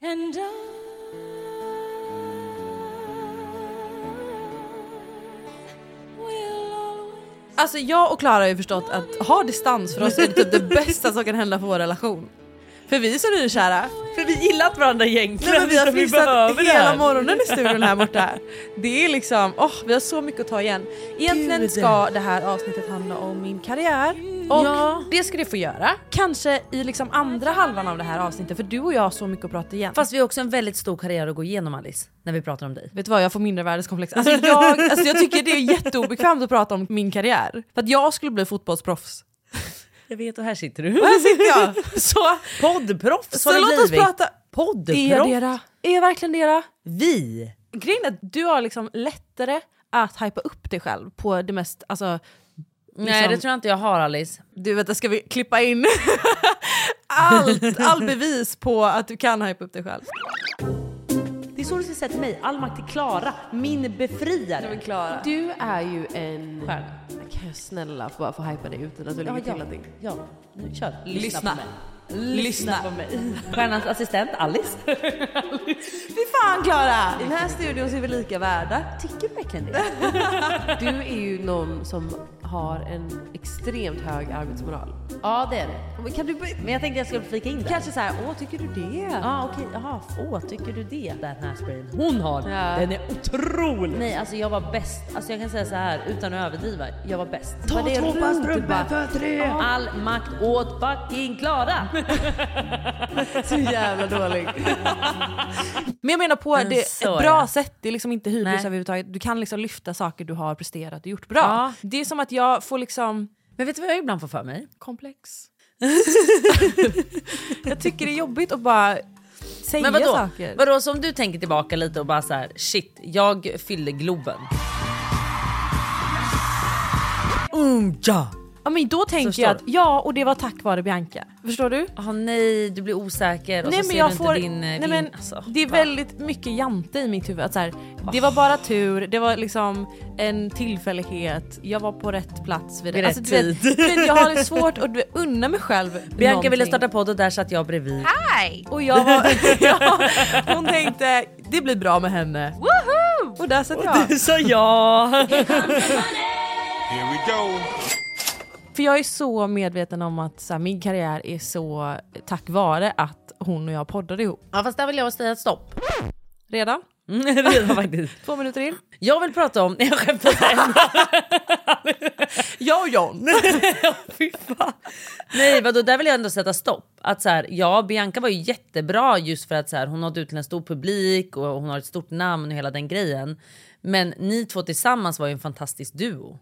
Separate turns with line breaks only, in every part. And I will always
Alltså jag och Klara har ju förstått att ha distans för oss är typ det bästa som kan hända för vår relation. För vi är så nykära.
För vi gillar inte varandra egentligen.
Nej, men vi har
så
fnissat
behöver det
hela
här.
morgonen i studion här borta. Det är liksom, åh vi har så mycket att ta igen. Egentligen
Gud.
ska det här avsnittet handla om min karriär och
Ja.
det ska det få göra. Kanske i liksom andra halvan av det här avsnittet för du och jag har så mycket att prata igen.
Fast vi har också en väldigt stor karriär att gå igenom Alice, när vi pratar om dig.
Vet du vad, jag får mindre världskomplex. Alltså jag, alltså jag tycker det är jätteobekvämt att prata om min karriär. För att jag skulle bli fotbollsproffs.
Jag vet och här sitter
Och
du.
här sitter jag. Så,
Poddproffs
så
har det
låt oss
blivit.
prata. Är jag
Poddproffs.
dera? Är jag verkligen dera?
Vi.
Grejen är att du har liksom lättare att hypa upp dig själv på det mest, alltså liksom-
Nej det tror jag inte jag har Alice.
du vet, ska vi klippa in allt, all bevis på att du kan hypa upp dig själv?
Det är så du ska säga till mig, all makt till Klara, min befriare.
Klara.
Du är ju en...
Stjärna.
Kan jag snälla få bara få hypa dig utan att du lägger till någonting?
Ja, nu kör.
Lyssna.
på mig. Lyssna på mig. Stjärnans assistent Alice.
Fy fan Klara! I den här studion så är vi lika värda.
Tycker du verkligen det?
Du är ju någon som har en extremt hög arbetsmoral.
Ja det är det. Men, kan du, börja- men jag tänkte jag skulle flika in det.
Kanske så här, åh tycker du det?
Ja ah, okej, jaha, åh tycker du det? Den här sprayen hon har, den är otrolig! Nej alltså jag var bäst, alltså jag kan säga så här utan att överdriva, jag var bäst. Ta
två
typ
par strumpor
för tre! All makt åt fucking Klara!
Så jävla dålig.
Men jag menar på
Men
det, ett
så är
bra
det.
sätt, det är liksom inte
Nej.
hybris överhuvudtaget. Du kan liksom lyfta saker du har presterat och gjort bra.
Ja.
Det är som att jag får liksom
Men vet du vad jag ibland får för mig?
komplex. jag tycker det är jobbigt att bara säga
Men vadå?
saker.
vadå som du tänker tillbaka lite och bara så här, shit jag fyllde Globen. Mm, ja.
Ja, men då tänker
Förstår
jag att ja, och det var tack vare Bianca. Förstår du?
Ah, nej du blir osäker och
Nej
så
men
ser du
jag
inte
får,
din... eh,
nej,
din
men,
alltså, Ah.
det är
va?
väldigt mycket jante i mitt huvud. Att så här, Det var bara tur, det var liksom en tillfällighet, jag var på rätt plats vid,
Vid
alltså,
rätt
du vet-
tid.
du vet, jag har lite svårt att du vet, unna mig själv
Bianca ville
någonting.
starta podd och där satt jag bredvid.
och jag var, ja, hon tänkte det blir bra med henne. Woohoo! Och där satt jag.
Du sa ja!
Here we go.
För jag är så medveten om att så här, min karriär är så tack vare att hon och jag poddade ihop.
Ja fast där vill jag säga stopp.
Redan?
Redan Mm, faktiskt.
Två minuter in.
Jag vill prata om, nej jag skämtar.
Jag och John.
Fy fan. nej vadå där vill jag ändå sätta stopp. Att så här, ja Bianca var ju jättebra just för att så här, hon nådde ut till en stor publik och hon har ett stort namn och hela den grejen. Men ni två tillsammans var ju en fantastisk duo.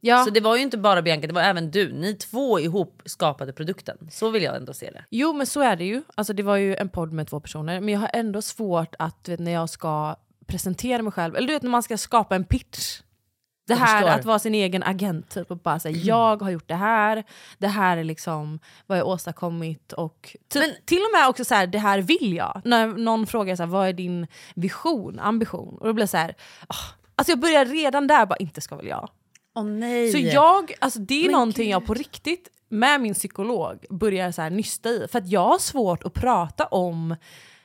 Ja.
Så det var ju inte bara Bianca, det var även du. Ni två ihop skapade produkten. Så vill jag ändå se det.
Jo men så är det ju. Alltså det var ju en podd med två personer. Men jag har ändå svårt att, du vet, när jag ska presentera mig själv, eller du vet när man ska skapa en pitch. Det här
förstår.
att vara sin egen agent, typ, och bara säga jag har gjort det här, det här är liksom vad jag åstadkommit och typ, till och med också så här, det här vill jag. När någon frågar så här, vad är din vision, ambition? Och då blir jag så här, "Ah." alltså jag börjar redan där bara inte ska väl jag.
Åh nej.
Så jag, alltså det är någonting jag på riktigt med min psykolog börjar så här nysta i. För att jag har svårt att prata om,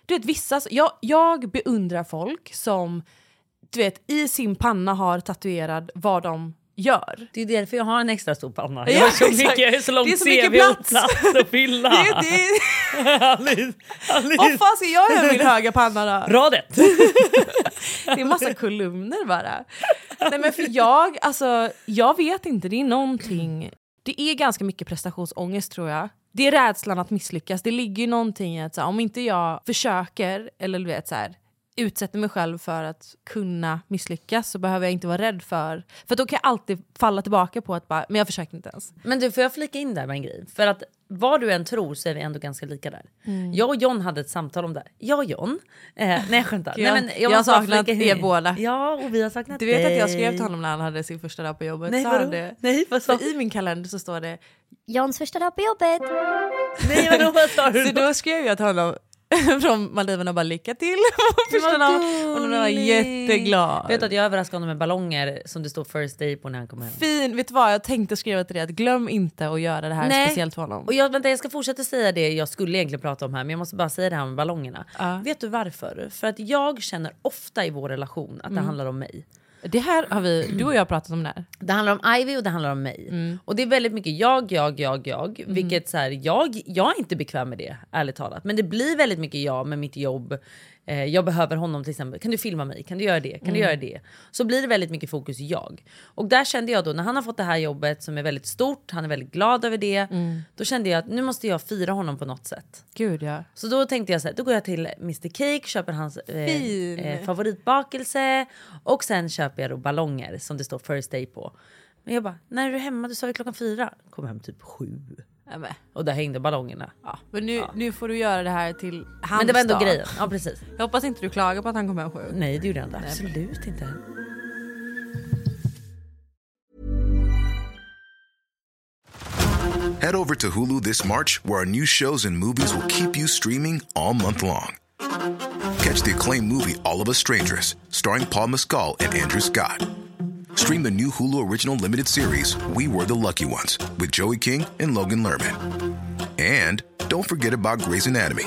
du vet vissa, jag, jag beundrar folk som du vet i sin panna har tatuerad vad de gör.
Det är därför jag har en extra stor panna.
Ja,
jag har så
exakt.
mycket, jag har så långt
Det är så
CV
mycket
och
plats.
plats att fylla.
Det, är- det, är-
Alice,
vad
Alice.
fan ska jag göra med min höga panna då?
Radet.
Det är massa kolumner bara. Nej men för jag, alltså jag vet inte, det är någonting, det är ganska mycket prestationsångest tror jag. Det är rädslan att misslyckas, det ligger ju någonting i att så här, om inte jag försöker eller du vet så här, utsätter mig själv för att kunna misslyckas så behöver jag inte vara rädd för, för då kan jag alltid falla tillbaka på att bara, men jag försöker inte ens.
Men du, får jag flika in där med en grej? För att vad du än tror så är vi ändå ganska lika där.
Mm.
Jag och John hade ett samtal om det här. Jag och John. Eh, nej jag skämtar.
Jag-
nej, men
jag har
måste bara
saknat
flika in.
er båda.
Ja och vi har saknat
Du vet att jag
dig.
skrev till honom när han hade sin första dag på jobbet,
Nej
sa han
vadå?
det?
Nej vad sa
Så I min kalender så står det
Johns första dag på jobbet.
Nej vadå vad sa du?
Så då skrev jag till honom,
från Maldiverna och bara lycka till på första dagen. Och den var
gullig.
jätteglad.
Vet du att jag överraskade honom med ballonger som det står first day på när han kom hem.
Fin, vet du vad jag tänkte skriva till dig? Att glöm inte att göra det här
Nej.
speciellt för honom.
Och jag, vänta, jag ska fortsätta säga det jag skulle egentligen prata om här men jag måste bara säga det här med ballongerna. Vet du varför? För att jag känner ofta i vår relation att det handlar om mig.
Det här har vi, du och jag har pratat om det här.
Det handlar om Ivy och det handlar om mig. Och det är väldigt mycket jag, jag, jag, jag. Vilket så här, jag, jag är inte bekväm med det, ärligt talat. Men det blir väldigt mycket jag med mitt jobb. Eh, jag behöver honom till exempel. Kan du filma mig? Kan du göra det? Kan du göra det? Så blir det väldigt mycket fokus jag. Och där kände jag då, när han har fått det här jobbet som är väldigt stort, han är väldigt glad över det. Då kände jag att nu måste jag fira honom på något sätt.
Gud ja.
Så då tänkte jag så här, då går jag till Mr Cake, köper hans eh,
Fin.
eh, favoritbakelse och sen köper jag då ballonger som det står first day på. Men jag bara, när är du hemma? Du sa ju klockan fyra. Kom hem typ sju. Och där hängde ballongerna.
Men nu, nu får du göra det här till hans
Men det var ändå
dag.
grejen. Ja precis.
Jag hoppas inte du klagar på att han kommer hem sju.
Nej det gjorde jag inte. Absolut inte.
Head over to Hulu this March, where our new shows and movies will keep you streaming all month long. Catch the acclaimed movie All of Us Strangers, starring Paul Mescal and Andrew Scott. Stream the new Hulu original limited series We Were the Lucky Ones with Joey King and Logan Lerman. And don't forget about Grey's Anatomy.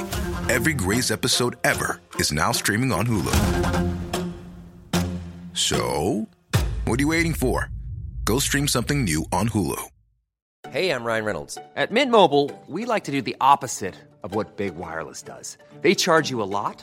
Every Grey's episode ever is now streaming on Hulu. So, what are you waiting for? Go stream something new on Hulu.
Hey, I'm Ryan Reynolds. At Mint Mobile, we like to do the opposite of what Big Wireless does. They charge you a lot,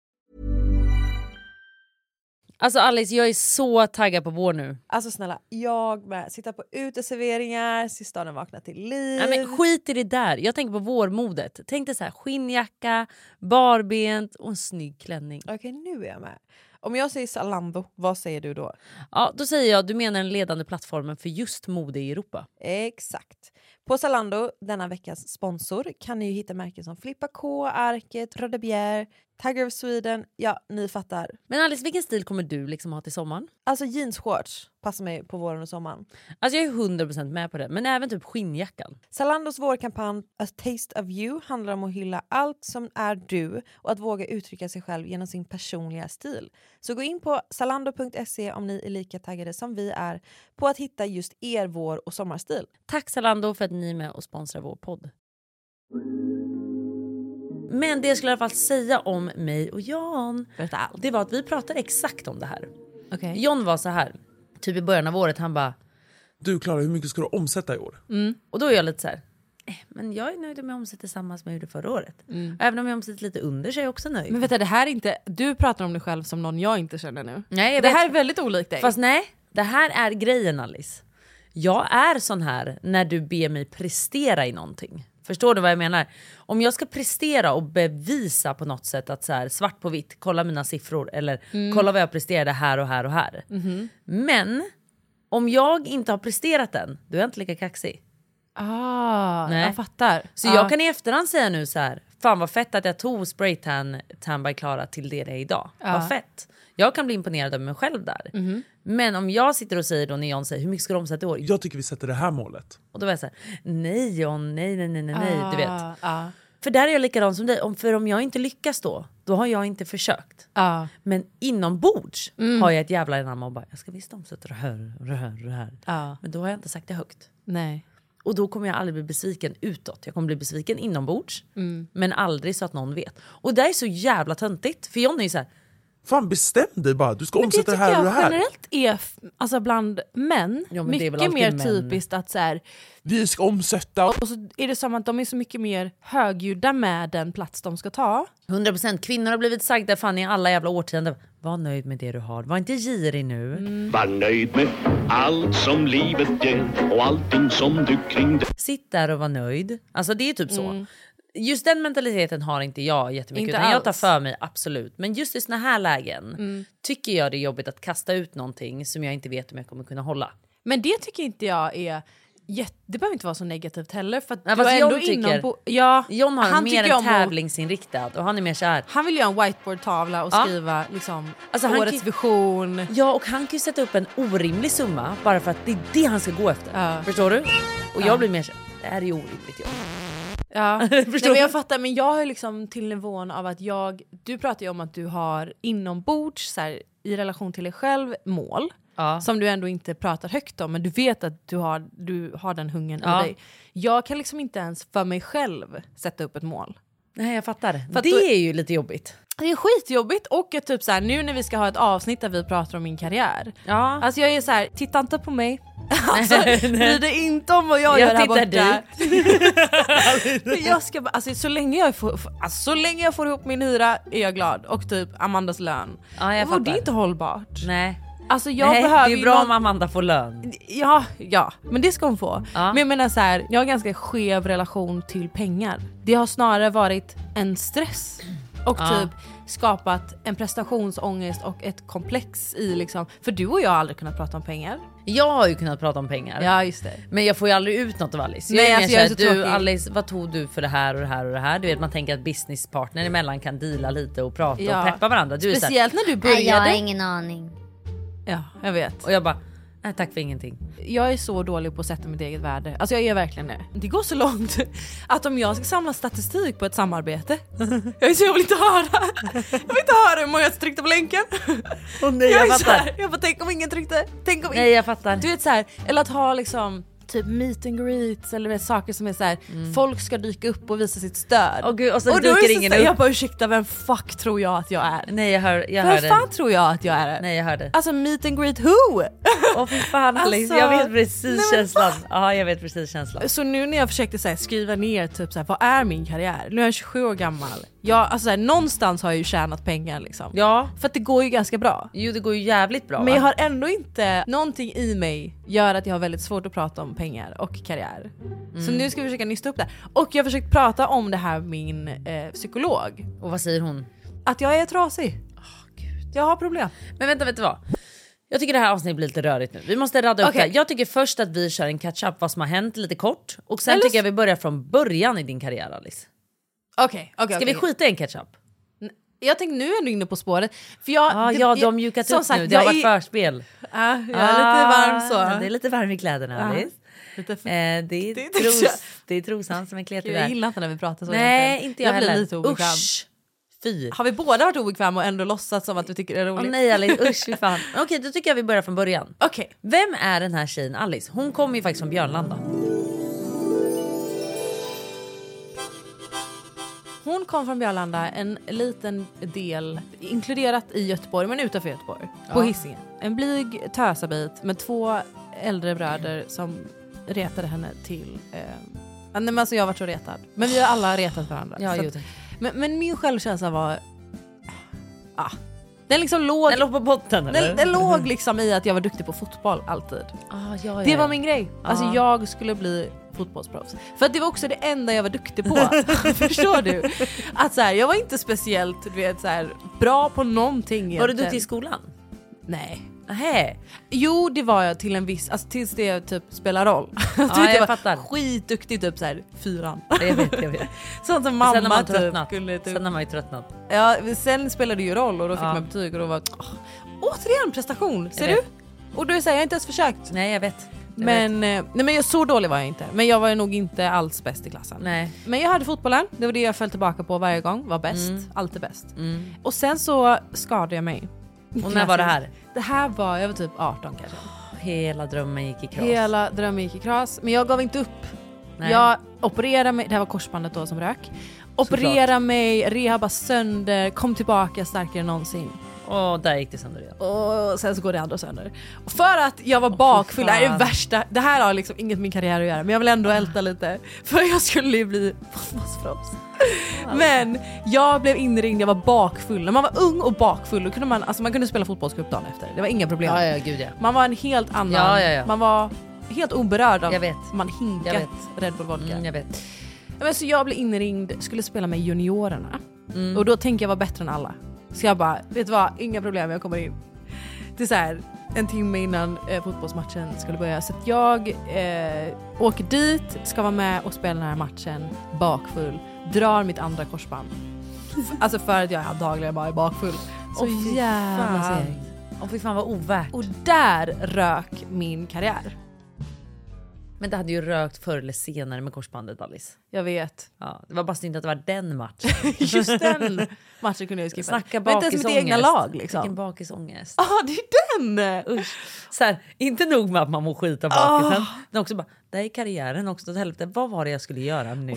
Alltså Alice jag är så taggad på vår nu.
Alltså snälla, jag med. Sitta på uteserveringar, sista dagen vakna till liv.
Nej, men skit i det där. Jag tänker på vårmodet. Tänk dig så här skinnjacka, barbent och en snygg klänning.
Okej, nu är jag med. Om jag säger Zalando, vad säger du då?
Ja då säger jag du menar den ledande plattformen för just mode i Europa.
Exakt. På Zalando, denna veckas sponsor, kan ni ju hitta märken som Flippa K, Arket, Röda Bjer, Tiger of Sweden. Ja, ni fattar.
Men Alice, vilken stil kommer du liksom ha till sommaren?
Alltså jeansshorts passar mig på våren och sommaren.
Alltså jag är 100% med på det, men även typ skinnjackan.
Zalandos vårkampanj A Taste of You handlar om att hylla allt som är du och att våga uttrycka sig själv genom sin personliga stil. Så gå in på zalando.se om ni är lika taggade som vi är på att hitta just er vår och sommarstil.
Tack Zalando för att ni är med och sponsrar vår podd. Men det jag skulle i alla fall säga om mig och Jan, det var att vi pratade exakt om det här.
Okej.
Jon var så här, typ i början av året, han bara
Du Klara, hur mycket ska du omsätta i år?
Mm.
Och då är jag lite så här. "Eh, Men jag är nöjd om jag omsätter samma som jag gjorde förra året. Även om jag omsätter lite under så är jag också nöjd.
Men vänta, det här är inte, du pratar om dig själv som någon jag inte känner nu.
Nej, jag
det
vet.
här är väldigt olikt dig.
Fast nej, det här är grejen Alice. Jag är sån här när du ber mig prestera i någonting. Förstår du vad jag menar? Om jag ska prestera och bevisa på något sätt att så här, svart på vitt, kolla mina siffror eller
Mm.
kolla vad jag presterade här och här och här. Men om jag inte har presterat den, då är jag inte lika kaxig.
ah,
Nej.
jag fattar.
Så
ah.
jag kan i efterhand säga nu så här, fan vad fett att jag tog spraytan tan by Klara till det det är idag.
Ah.
Vad fett. Jag kan bli imponerad över mig själv där.
Mhm.
Men om jag sitter och säger då när John säger hur mycket ska du omsätta i år?
Jag tycker vi sätter det här målet.
Och då var jag så här, nej John, nej nej nej nej, nej. du vet.
Ah,
För där är jag likadan som dig, om, för om jag inte lyckas då, då har jag inte försökt.
ah. Mm.
Men inombords har jag ett jävla enamma och bara, jag ska visst omsätta det här och det här och det här.
Ja.
Men då har jag inte sagt det högt.
Ah. Nej.
Och då kommer jag aldrig bli besviken utåt. Jag kommer bli besviken inombords.
Mm.
Men aldrig så att någon vet. Och det är så jävla töntigt. För John är ju såhär,
Fan bestäm dig bara, du ska
Men det
omsätta
tycker
det här och det
jag
här.
generellt är, f- alltså bland män,
Ja, men det är väl
mycket mer
alltid män.
typiskt att så här,
Vi ska omsätta.
och så är det som att de är så mycket mer högljudda med den plats de ska ta.
100% kvinnor har blivit sagda fan i alla jävla årtionden. Var nöjd med det du har. Var inte girig nu.
Var nöjd med allt som livet ger och allting som du kring dig
Sitt där och var nöjd. Alltså det är typ så. Just den mentaliteten har inte jag jättemycket.
Mm. Inte
utan jag tar
alls.
för mig, absolut. Men just i såna här lägen
Mm.
tycker jag det är jobbigt att kasta ut någonting som jag inte vet om jag kommer kunna hålla.
Men det tycker inte jag är... jätte- Det behöver inte vara så negativt heller. För att
Nej,
du
fast
är
John
ändå inom
tycker-
på, ja,
John har
han
mer
tycker
en
om att-
tävlingsinriktad och han är mer så här.
Han vill göra en whiteboard-tavla och
Ja.
skriva liksom,
Alltså, han
årets
kan-
vision.
Ja och han kan ju sätta upp en orimlig summa bara för att det är det han ska gå efter. Förstår du? Och jag
Ja.
blir mer så här, det här är ju orimligt John.
Ja. Nej,
Förstår
men
du?
jag fattar, men jag har ju liksom till nivån av att jag... Du pratar ju om att du har inombords, så här, i relation till dig själv, mål. Som du ändå inte pratar högt om, men du vet att du har, du har den hungern
Ja.
i dig. Jag kan liksom inte ens för mig själv sätta upp ett mål.
Nej jag fattar.
För att
det
då-
är ju lite jobbigt.
Det är skitjobbigt och jag typ så här, nu när vi ska ha ett avsnitt där vi pratar om min karriär.
Ja.
Alltså jag är så här, titta inte på mig. Alltså, bry dig inte om vad jag,
Jag
gör här borta.
tittar
Men jag ska, bara- alltså, så, länge jag får, alltså, så länge jag får ihop min hyra är jag glad. Och typ Amandas lön.
Ja, jag
och det
fattar.
är inte hållbart.
Nej.
Alltså jag
Nej,
behöver
det är
ju
bra
någon-
om Amanda får lön.
Ja, ja, men det ska hon få.
Ja.
Men jag menar så här, jag har ganska skev relation till pengar. Det har snarare varit en stress och
Ja.
typ skapat en prestationsångest och ett komplex i liksom, för du och jag har aldrig kunnat prata om pengar.
Jag har ju kunnat prata om pengar.
Ja, just det.
Men jag får ju aldrig ut något av Alice. Jag
Nej,
är mer
alltså, jag är
såhär,
så
du
tråkig."
Alice vad tog du för det här och det här och det här? Du vet man tänker att businesspartner emellan kan deala lite och prata och
Ja.
peppa varandra. Du är så här-
Speciellt när du började.
ingen aning.
Ja, jag vet.
Och jag bara, nej tack för ingenting.
Jag är så dålig på att sätta mitt eget värde. Alltså jag är verkligen det. Det går så långt att om jag ska samla statistik på ett samarbete. Jag är så jag vill inte höra. Jag vill inte höra hur många som tryckte på länken.
Åh nej,
jag
jag
är så
fattar.
här, jag bara tänk om ingen tryckte. Tänk om ingen...
Nej jag fattar.
Du vet så här, eller att ha liksom typ meet and greets eller vet, saker som är så här, folk ska dyka upp och visa sitt stöd.
Mm. Åh gud, och sen
då är
dyker
det så
ingen
här,
upp.
Jag bara ursäkta vem fuck tror jag att jag är?
Nej jag hör, jag
vem
hör
fan
dig.
tror jag att jag är?
Nej jag hör dig.
Alltså meet and greet who?
Åh fy fan Alice, jag
Alltså,
vet precis
nej, men
känslan. Ja jag vet precis känslan.
Så nu när jag försökte så här, skriva ner typ så här, vad är min karriär? Nu är jag 27 år gammal. Jag, alltså, så här, någonstans har jag ju tjänat pengar liksom.
Ja.
För att det går ju ganska bra.
Jo det går ju jävligt bra
Men jag
va?
har ändå inte, någonting i mig gör att jag har väldigt svårt att prata om pengar och karriär.
Mm.
Så nu ska vi försöka nysta upp det. Och jag har försökt prata om det här med min eh, psykolog.
Och vad säger hon?
Att jag är trasig. Jag har problem.
Men vänta, vet du vad? Jag tycker det här avsnittet blir lite rörigt nu. Vi måste radda upp
Okej.
det. Jag tycker först att vi kör en catch-up vad som har hänt lite kort. Och sen
Eller
tycker
så-
jag vi börjar från början i din karriär Alice.
Okej, okej.
Ska vi
okej.
skita i en catch-up?
Jag tänkte nu är du inne på spåret. För jag,
Ja,
det-
Ah, ja,
jag-
de har mjukat
som
upp
sagt,
nu. Det har
jag
varit
är-
förspel. Ah,
Ja, jag är lite varm så.
Det är lite varm i kläderna
Ja.
Alice.
Lite för...
Eh, det, är
Det är inte
tros,
kött.
det är trosan som är kletig
Gud, jag
där.
gillar inte när vi pratar så.
Nej,
egentligen.
inte jag,
jag
heller.
blir lite obekväm.
Usch! Fy.
Har vi båda varit obekväma och ändå låtsats som att vi tycker det är roligt?
Åh nej Alice, usch fy fan. Okej, då tycker jag vi börjar från början.
Okej.
Vem är den här tjejen Alice? Hon kommer ju faktiskt från Björnlanda.
Hon kom från Björlanda, en liten del, inkluderat i Göteborg men utanför Göteborg, på Hisingen. En blyg tösabit med två äldre bröder som retade henne till... Eh, ja, nej, men alltså jag har varit så retad. Men vi har alla retat varandra.
Ja,
så
jo,
att,
tack.
men, men min självkänsla var... Ah, den liksom låg...
Den låg på botten eller?
Den, den låg liksom i att jag var duktig på fotboll alltid.
Ah, ja, ja,
Det var
ja.
min grej. Alltså
Ja.
jag skulle bli fotbollsproffs. För att det var också det enda jag var duktig på. Förstår du? Att så här, jag var inte speciellt du vet, så här, bra på någonting
Var du
egentligen.
duktig i skolan?
Nej.
Nej.
Jo det var jag till en viss, alltså tills det typ spelar roll. Ja,
jag
var
fattar.
Skitduktig typ såhär fyran.
Jag vet, jag vet.
Sånt som
Sen har
mamma
man
typ
tröttnat.
skulle typ.
Sen har man ju tröttnat.
Ja, sen spelade det ju roll och då fick
Ja.
man betyg och då var åh, återigen prestation. Ser
Jag
du?
vet.
Och då är det såhär, jag har inte ens försökt.
Nej jag vet. Jag vet.
Men, eh, nej men jag, så dålig var jag inte. Men jag var ju nog inte alls bäst i klassen.
Nej.
Men jag hade fotbollen, det var det jag föll tillbaka på varje gång. Var bäst,
Mm.
alltid bäst. Och sen så skadade jag mig.
Och när var det här?
Det här var, jag var typ 18 kanske.
Hela drömmen gick i kras.
Hela drömmen gick i kras. Men jag gav inte upp.
Nej.
Jag opererade mig, det här var korsbandet då som rök. Opererade mig, rehabade sönder, kom tillbaka starkare än någonsin.
Och där gick det sönder igen.
Och sen så går det andra sönder. Och För att jag var bakfull, det här är det
fan. Ah.
värsta. Det här har liksom inget med min karriär att göra men jag vill ändå älta lite. För jag skulle ju bli fotbollsproffs.
Ah.
Men jag blev inringd, jag var bakfull. När man var ung och bakfull då kunde man, alltså man kunde spela fotbollscup dagen efter. Det var inga problem.
Ja, ja, gud ja.
Man var en helt annan,
Ja, ja, ja.
man var helt oberörd av
Jag vet.
man hinkat
Jag vet.
Red Bull Vodka.
Mm, jag vet.
Ja, Men så jag blev inringd, skulle spela med juniorerna.
Mm.
Och då tänker jag vara bättre än alla. Så jag bara, vet du vad, inga problem, jag kommer in. Det är så här, en timme innan eh, fotbollsmatchen skulle börja. Så att jag eh, åker dit, ska vara med och spela den här matchen bakfull. Drar mitt andra korsband. F- alltså för att jag dagligen bara är bakfull.
Så
fy
jävla
fan.
segt. Åh fy fan vad ovärt.
Och där rök min karriär.
Men det hade ju rökt förr eller senare med korsbandet Alice.
Jag vet.
Ja, det var bara synd att det var den matchen.
Just den matchen kunde jag ju skippa.
Snacka
Men inte ens mitt egna
bakisångest.
lag liksom.
Vilken bakisångest.
Ja, ah, det är den! Usch.
Så här, inte nog med att man mår skit av
Ah.
bakisen. Men också bara, där är karriären också åt helvete. Vad var det jag skulle göra nu?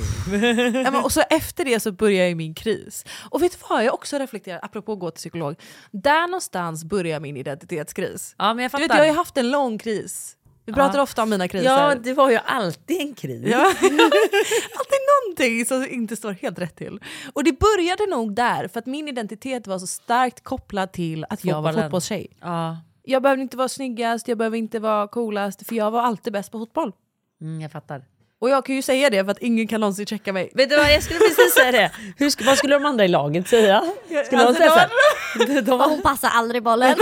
Ja, men, och så efter det så börjar ju min kris. Och vet du vad jag också reflekterar, apropå att gå till psykolog. Där någonstans börjar min identitetskris.
Ja men jag
du
fattar.
vet, jag har ju haft en lång kris. Vi pratar ofta om mina kriser.
ja det var ju alltid en kris.
Ja. Alltid någonting som inte står helt rätt till. Och det började nog där, för att min identitet var så starkt kopplad till att jag var
Fotbollen.
fotbollstjej.
Ja,
Jag behövde inte vara snyggast, jag behövde inte vara coolast, för jag var alltid bäst på fotboll.
mm, jag fattar.
Och jag kan ju säga det för att ingen kan någonsin checka mig.
Vet du vad, jag skulle precis säga det. Hur, sk- vad skulle de andra i laget säga? Skulle de
Alltså,
säga
de
så här? De var,
Hon passar aldrig bollen.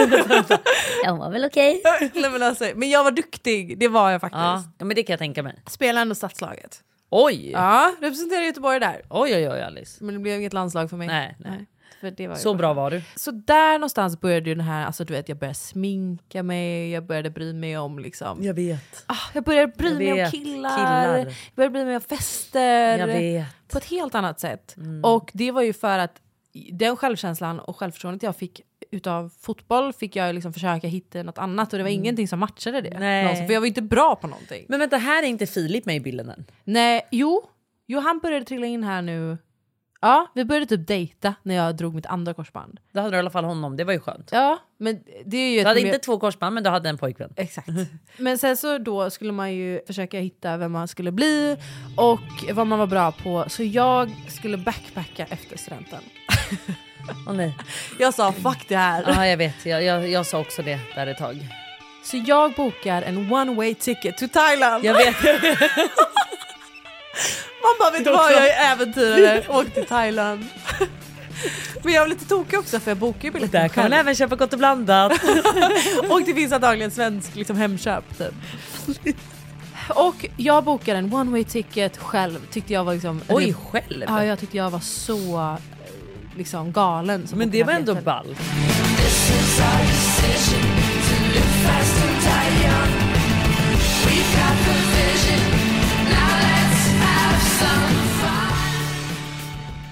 Hon var väl okej.
Nej, men, alltså, men jag var duktig, det var jag faktiskt.
ja, ja, men det kan jag tänka mig.
Spelade ändå stadslaget.
Oj!
Ja, representerade Göteborg där.
Oj, oj, oj Alice.
Men det blev inget landslag för mig.
Nej, nej.
För det var ju
Så bra var du.
Så där någonstans började ju den här, alltså du vet jag började sminka mig, jag började bry mig om liksom.
Jag vet.
Ah, jag började bry
Jag
mig om
vet.
killar,
Killar.
jag började bry mig om fester.
Jag vet.
På ett helt annat sätt. Och det var ju för att den självkänslan och självförtroendet jag fick utav fotboll fick jag liksom försöka hitta något annat och det var ingenting som matchade det.
Nej.
någonsin, För jag var ju inte bra på någonting.
Men vänta, här är inte Filip med i bilden än.
Nej, jo. Jo, han började trilla in här nu. Ja, vi började typ dejta när jag drog mitt andra korsband.
Då hade du i alla fall honom, det var ju skönt.
Ja, men det är ju...
Du hade inte två korsband men du hade en pojkvän.
Exakt. Men sen så då skulle man ju försöka hitta vem man skulle bli och vad man var bra på. Så jag skulle backpacka efter studenten.
Åh nej.
Jag sa fuck det här.
Ja jag vet, jag, jag, jag sa också det där ett tag.
Så jag bokar en one way ticket to Thailand.
Jag vet.
Man bara vet du vad, jag är äventyrare, åk till Thailand. Men jag var lite tokig också för jag bokade
Där
ju biljetten
kan man
själv.
även köpa gott och blandat.
Och det finns antagligen svensk liksom, hemköp typ. Och jag bokade en one way ticket själv tyckte jag var liksom...
Oj själv.
Ja, jag tyckte jag var så eh, liksom galen. som
Men det
bokade
var ändå ball.
biljetten.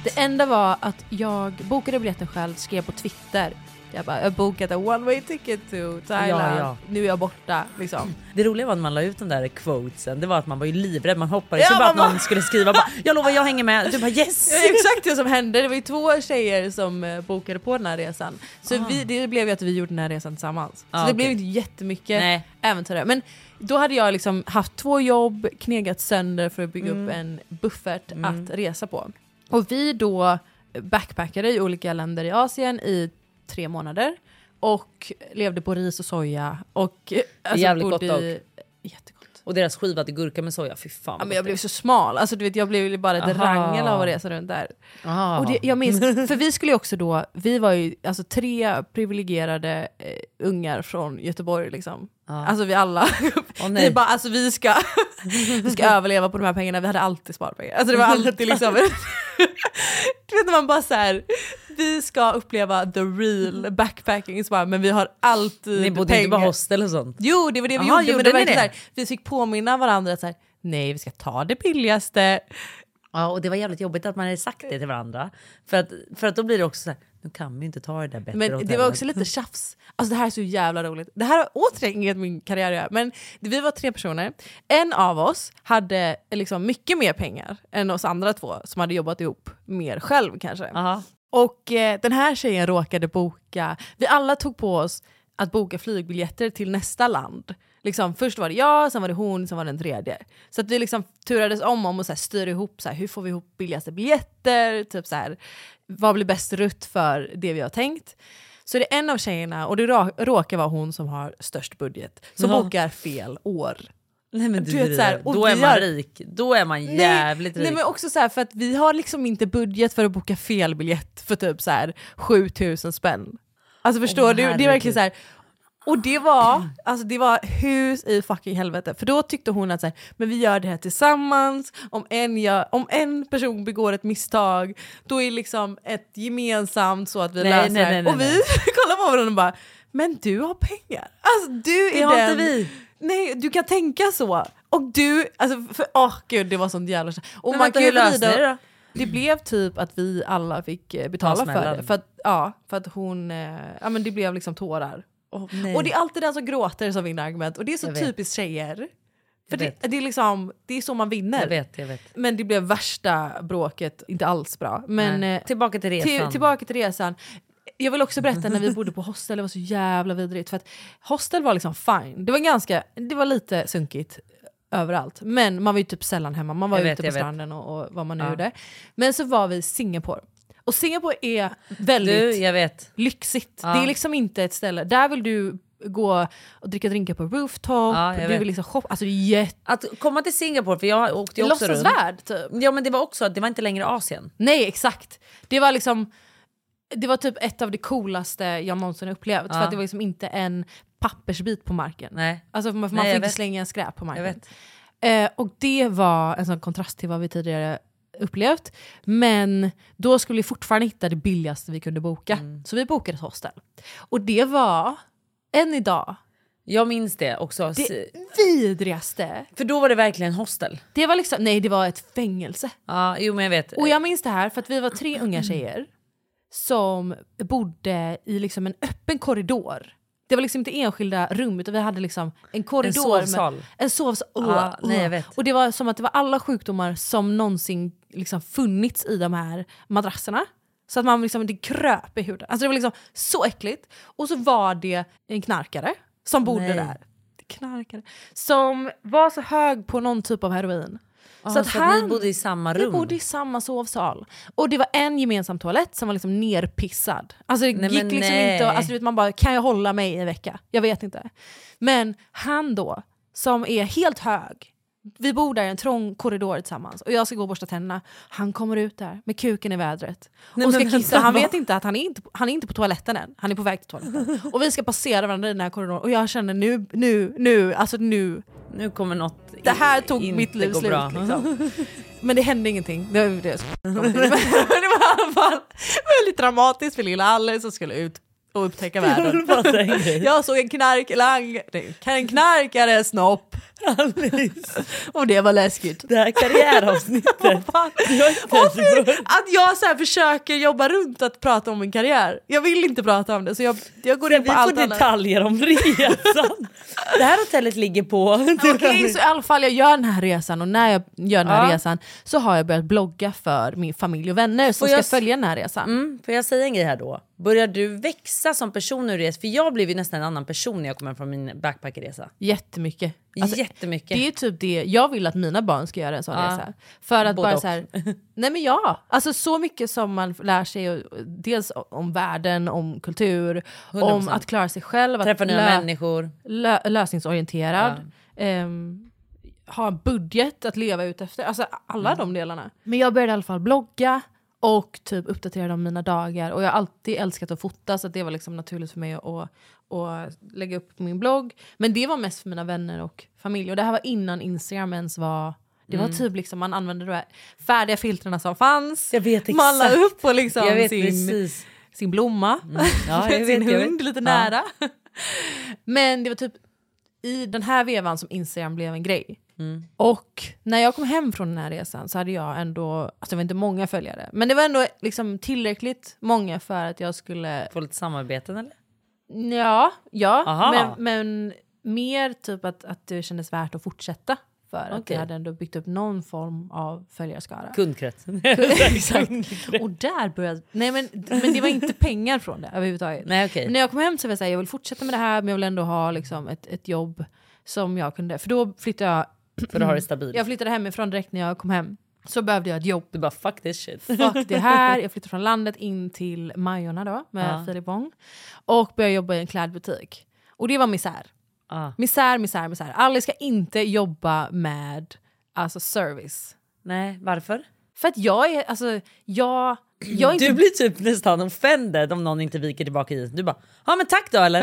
Det enda var att jag bokade biljetten själv, skrev på Twitter. Jag bara, jag har bokat en one way ticket to Thailand.
Ja, ja.
Nu är jag borta liksom.
Det roliga var när man la ut de där quotesen, det var att man var ju livrädd, man hoppades
Ja,
ju bara att
man bara-
någon skulle skriva bara, jag lovar jag hänger med, du bara yes!
Det är exakt det som hände. Det var ju två tjejer som eh, bokade på den här resan. Så vi, det blev ju att vi gjorde den här resan tillsammans.
Ah,
så det
okej.
blev inte jättemycket
Nej.
äventyrare. Men då hade jag liksom haft två jobb, knegat sönder för att bygga upp en buffert att resa på. Och vi då backpackade i olika länder i Asien i tre månader. Och levde på ris och soja. Och eh, alltså,
Jävligt
bodde
gott
i- Jättegott.
Och deras skiva till gurka med soja, fy fan
Ja,
vad
men jag
gott
blev så smal, alltså, du vet, jag blev ju bara ett
Aha.
rangel av att resa runt där.
det är. Ah.
Och det, jag minns, för vi skulle ju också då, vi var ju alltså, tre privilegierade eh, ungar från Göteborg liksom. Alltså vi alla,
nej.
vi bara alltså vi ska, vi ska överleva på de här pengarna, vi hade alltid sparpengar. Alltså det var alltid liksom, du vet när man bara såhär, vi ska uppleva the real backpacking, så bara, men vi har alltid
Mm. Ni bodde
pengar.
inte på hostel och sånt?
Jo, det var det vi
Jaha,
gjorde.
gjorde
men det
ni
var verkligen
det?
så här, vi fick påminna varandra att så här, nej vi ska ta det billigaste.
Ja och det var jävligt jobbigt att man hade sagt det till varandra. För att, för att då blir det också så här, nu kan vi ju inte ta det där bättre
Men det
hotellet.
var också lite tjafs. Alltså det här är så jävla roligt. Det här har återigen inget med min karriär att göra, men vi var tre personer. En av oss hade liksom mycket mer pengar än oss andra två som hade jobbat ihop mer själv kanske.
Aha.
Och eh, den här tjejen råkade boka, vi alla tog på oss att boka flygbiljetter till nästa land. Liksom, först var det jag, sen var det hon, sen var det en tredje. Så att vi liksom turades om om och så här, styrde ihop så här, hur får vi ihop billigaste biljetter, typ så här, vad blir bäst rutt för det vi har tänkt. Så det är en av tjejerna, och det ra- råkar vara hon som har störst budget, som
Ja.
bokar fel år.
Nej, men
Du
du
vet,
driver.
så här, och
då är
vi
man
har-
rik. Då är man
Nej,
jävligt
Nej
rik.
men också så här, för att vi har liksom inte budget för att boka fel biljett för typ så här 7000 spänn. Alltså förstår
Åh,
du? Det är verkligen
herregud.
så här. Och det var, alltså det var hus i fucking helvete. För då tyckte hon att så här, men vi gör det här tillsammans, om en, gör, om en person begår ett misstag, då är liksom ett gemensamt så att vi
Nej,
löser
nej,
det här.
nej, nej,
Och vi kollar på varandra och bara, men du har pengar. Alltså du
Det
är
har
den...
inte vi.
Nej, du kan tänka så. Och du, alltså för, åh gud det var sånt jävla... Och
Men vänta, hur
kan ju
löste
vrida-
ni det då?
Det blev typ att vi alla fick eh, betala för
Avsmällade.
det. För att, ja, för att hon, eh, ja men det blev liksom tårar. Och,
nej.
och det är alltid den som gråter som vinner argument. Och det är så
Jag vet.
typiskt tjejer. För
Jag
det,
vet.
det, är liksom, det är så man vinner.
Jag vet, jag vet.
Men det blev värsta bråket, inte alls bra. Men,
Nej.
eh,
Tillbaka till resan.
tillbaka till resan. Jag vill också berätta när vi bodde på hostel, det var så jävla vidrigt. För att hostel var liksom fine, det var, ganska, det var lite sunkigt överallt. Men man var ju typ sällan hemma, man var
Jag vet,
ute
jag
på
vet.
stranden och, och vad man nu
Ja.
gjorde. Men så var vi i Singapore. Och Singapore är väldigt
Du, jag vet.
lyxigt.
Ja.
Det är liksom inte ett ställe, där vill du gå och dricka drinkar på rooftop,
Ja, jag
du
vet.
vill liksom shoppa. Alltså det är jätte...
Att komma till Singapore, för jag åkte ju också runt.
Låtsasvärd typ.
Ja men det var också att det var inte längre Asien.
Nej exakt. Det var liksom det var typ ett av det coolaste jag någonsin upplevt. För
Ja.
att det var liksom inte en pappersbit på marken.
Nej.
Alltså man, man
Nej, jag
får inte
vet.
slänga skräp på
Jag
marken.
vet.
Eh, och det var en sån kontrast till vad vi tidigare upplevt. Men då skulle vi fortfarande hitta det billigaste vi kunde boka.
Mm.
Så vi bokade ett hostel. Och det var, än idag,
Jag minns det också.
det vidrigaste.
För då var det verkligen hostel.
Det var liksom, nej det var ett fängelse.
Ja, jo men jag vet.
Och jag minns det här för att vi var tre unga tjejer som bodde i liksom en öppen korridor. Det var liksom inte enskilda rum utan vi hade liksom en korridor.
sovsal.
Med, en sovsal. Åh,
Ja,
åh.
nej, jag vet.
Och det var som att det var alla sjukdomar som någonsin liksom funnits i de här madrasserna. Så att man liksom, det kröp i huden. Alltså det var liksom så äckligt. Och så var det en knarkare som bodde
Nej.
där. Knarkare. Som var så hög på någon typ av heroin.
Ja, så att ni bodde i samma rum?
Vi bodde i samma sovsal. Och det var en gemensam toalett som var liksom nerpissad. Alltså det
Nej,
gick
men
liksom
nej.
inte, att- alltså, du vet, man bara kan jag hålla mig i en vecka? Jag vet inte. Men han då, som är helt hög, vi bor där i en trång korridor tillsammans och jag ska gå och borsta tänderna. Han kommer ut där med kuken i vädret
Nej,
och ska
men vänta,
kissa. Han
va?
vet inte att han är inte, han är inte på toaletten än. Han är på väg till toaletten. Och vi ska passera varandra i den här korridoren och jag känner nu, nu, nu, alltså nu
Nu kommer något i-
det här tog
inte
mitt liv
gå
slut.
bra.
Liksom. Men det hände ingenting. Det var, det. Men det var i alla fall väldigt dramatiskt för lilla Alice som skulle ut och upptäcka världen.
Vad säger du?
Jag såg en knarklang, nej, en knarkare snopp och det var läskigt.
Det här karriäravsnittet.
Fan.
Jag är inte
Och
ens
för
bra.
att jag så här försöker jobba runt att prata om min karriär. Jag vill inte prata om det så jag, jag går in
Vi
på allt
får
annat.
detaljer om resan. Det här hotellet ligger på...
Okej, så i alla fall jag gör den här resan och när jag gör den här
Ja.
resan så har jag börjat blogga för min familj och vänner som
Får
ska
jag s-
följa den här resan.
Mm, får jag säga en grej här då? Börjar du växa som person när du reser? För jag blev ju nästan en annan person när jag kom hem från min backpackerresa.
Jättemycket.
Alltså,
Alltså,
Jättemycket.
Det är typ det jag vill att mina barn ska göra en sån
Ja.
resa. För att
Både
bara
och.
så här, nej men ja, alltså så mycket som man lär sig och- dels om världen, om kultur, om
100%.
att klara sig själv, att
Träffa nya
lö-
människor.
lö- lösningsorienterad, ehm, ha en budget att leva ut efter. Alltså alla de delarna. Men jag började i alla fall blogga och typ uppdatera om mina dagar. Och jag har alltid älskat att fota så att det var liksom naturligt för mig att, att, att lägga upp på min blogg. Men det var mest för mina vänner och familj. Och det här var innan Instagram ens var... Det var typ liksom man använde de här färdiga filtren som fanns.
Jag vet
Man la
exakt.
upp på liksom
Jag vet
sin,
precis.
sin blomma,
Ja, jag vet,
sin
jag vet.
hund lite
Ja.
nära. Men det var typ i den här vevan som Instagram blev en grej.
Mm.
Och när jag kom hem från den här resan så hade jag ändå, alltså det var inte många följare, men det var ändå liksom tillräckligt många för att jag skulle,
Få lite samarbeten eller?
ja, ja
Aha.
men, men mer typ att, att det kändes värt att fortsätta. För att
Okej.
jag hade ändå byggt upp någon form av följarskara.
Kundkrets.
Exakt. Och där började... Nej men, men det var inte pengar från det överhuvudtaget.
Nej, okej.
Men när jag kom hem så var jag såhär, jag vill fortsätta med det här men jag vill ändå ha liksom, ett, ett jobb som jag kunde... För då flyttade jag...
För att ha det stabilt.
Jag flyttade hemifrån direkt när jag kom hem. Så behövde jag ett jobb.
Du bara fuck this shit.
Fuck det här. Jag flyttade från landet in till Majorna då med
Ja.
Filip Wong. Och började jobba i en klädbutik. Och det var misär.
Ah.
Misär, misär, misär. Alice ska inte jobba med alltså, service.
Nej, varför?
För att jag är, alltså, jag, jag är
Du
inte...
blir typ nästan offended om någon inte viker tillbaka i. Du bara, ja men tack då eller?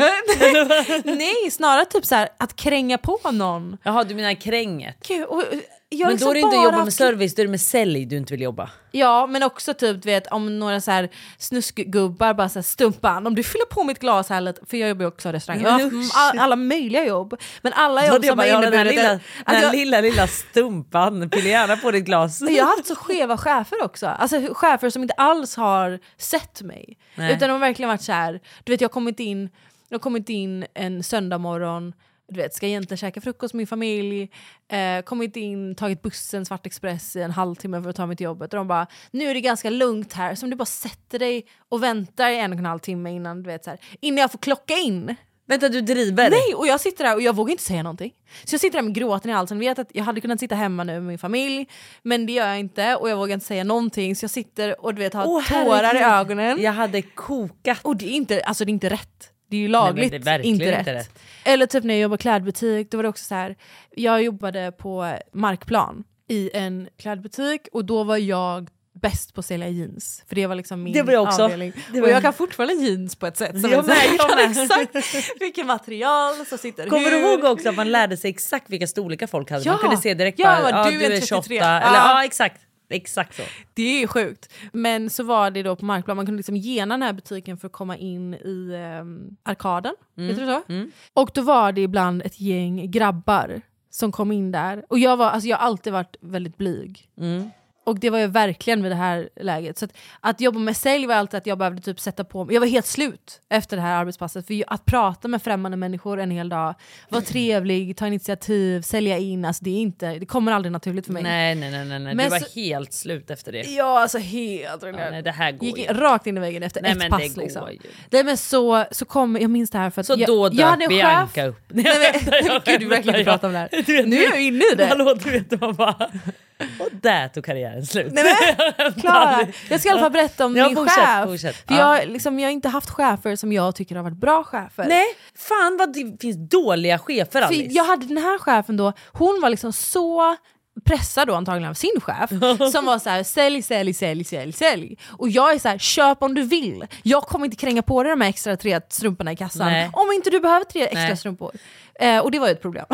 Nej, snarare typ så här att kränga på någon.
Jaha, du menar kränget?
Gud, och,
eh,
och- jag har
men
liksom
då är det inte att
bara
jobba med
haft-
service, då är det med sälj du inte vill jobba.
Ja, men också typ du vet, om några så här snuskgubbar bara så här, stumpan, om du fyller på mitt glas här lite, för jag jobbar ju också i restaurang, jag har haft
Usch.
all, alla möjliga jobb, men alla
Då
jobb
hade jag
som har
bara, ja, den här
inneburit
lilla, alltså-
att,
den
att
här
Alltså, jag,
lilla, lilla stumpan, pilla gärna på ditt glas.
jag har haft så skeva chefer också, alltså chefer som inte alls har sett mig,
Nej.
utan de har verkligen varit så här, du vet jag har kommit in, jag har kommit in en söndag morgon du vet, ska egentligen käka frukost med min familj, eh, kommit in, tagit bussen, Svart Express i en halvtimme för att ta mig till jobbet. Och de bara, nu är det ganska lugnt här, så om du bara sätter dig och väntar i en och en halv timme innan, du vet, så här, innan jag får klocka in.
Vänta du driver?
Nej, och jag sitter där och jag vågar inte säga någonting. Så jag sitter där med gråten i halsen, vet att jag hade kunnat sitta hemma nu med min familj, men det gör jag inte och jag vågar inte säga någonting så jag sitter och du vet har
Åh,
tårar i
herregud.
ögonen.
Jag hade kokat.
Och det är inte, alltså det är inte rätt. Det är ju
men
lagligt,
det är verkligen
inte, rätt.
inte rätt.
Eller typ när jag jobbade klädbutik, då var det också så här. jag jobbade på markplan i en klädbutik och då var jag bäst på att sälja jeans. För det var liksom min
Det var jag också.
avdelning.
Det var
Och jag
jag.
kan fortfarande jeans på ett sätt. som
Jag
är så här,
med, jag med.
Exakt vilket material som sitter
Kommer du
hur.
ihåg också att man lärde sig exakt vilka storlekar folk hade?
Ja.
Man kunde se direkt
Ja,
bara,
du
ja,
är
du är
33.
28.
Ja.
Eller, ja exakt, exakt så.
Det är sjukt. Men så var det då på markplan, man kunde liksom gena den här butiken för att komma in i ehm, arkaden. Heter det så? Och då var det ibland ett gäng grabbar som kom in där. Och jag, var, alltså jag har alltid varit väldigt blyg. Och det var jag verkligen vid det här läget. Så att, att jobba med sälj var alltid att jag behövde typ sätta på mig. Jag var helt slut efter det här arbetspasset. För ju- att prata med främmande människor en hel dag, vara trevlig, ta initiativ, sälja in. Alltså det, är inte, det kommer aldrig naturligt för mig.
Nej nej nej, nej, nej.
Men
du var
så-
helt slut efter det.
Ja, alltså helt
Ja, nej, det här går
Gick
ju
in, rakt in i väggen efter
Nej,
ett
men det
pass.
går
liksom.
ju.
Nej men så, så kom, jag minns det här för att
Så
jag,
då
jag
dök
hade en
Bianca
chef,
upp.
Nej, men, gud, du vill verkligen inte prata om det här. Nu är jag ju inne i det.
Hallå du vet man bara... Och där tog karriären slut.
Nej, men, Klara, jag ska i alla fall berätta om
Ja,
min
fortsätt,
chef.
fortsätt.
För
Ja.
jag, liksom, jag har inte haft chefer som jag tycker har varit bra chefer.
Nej, fan vad det finns dåliga chefer
För
Alice.
jag hade den här chefen då, hon var liksom så pressad då antagligen av sin chef som var så här: sälj, sälj, sälj, sälj, sälj. Och jag är så här: köp om du vill. Jag kommer inte kränga på dig de här extra tre strumporna i kassan
Nej.
om inte du behöver tre extra
Nej.
strumpor. Eh, och det var ju ett problem.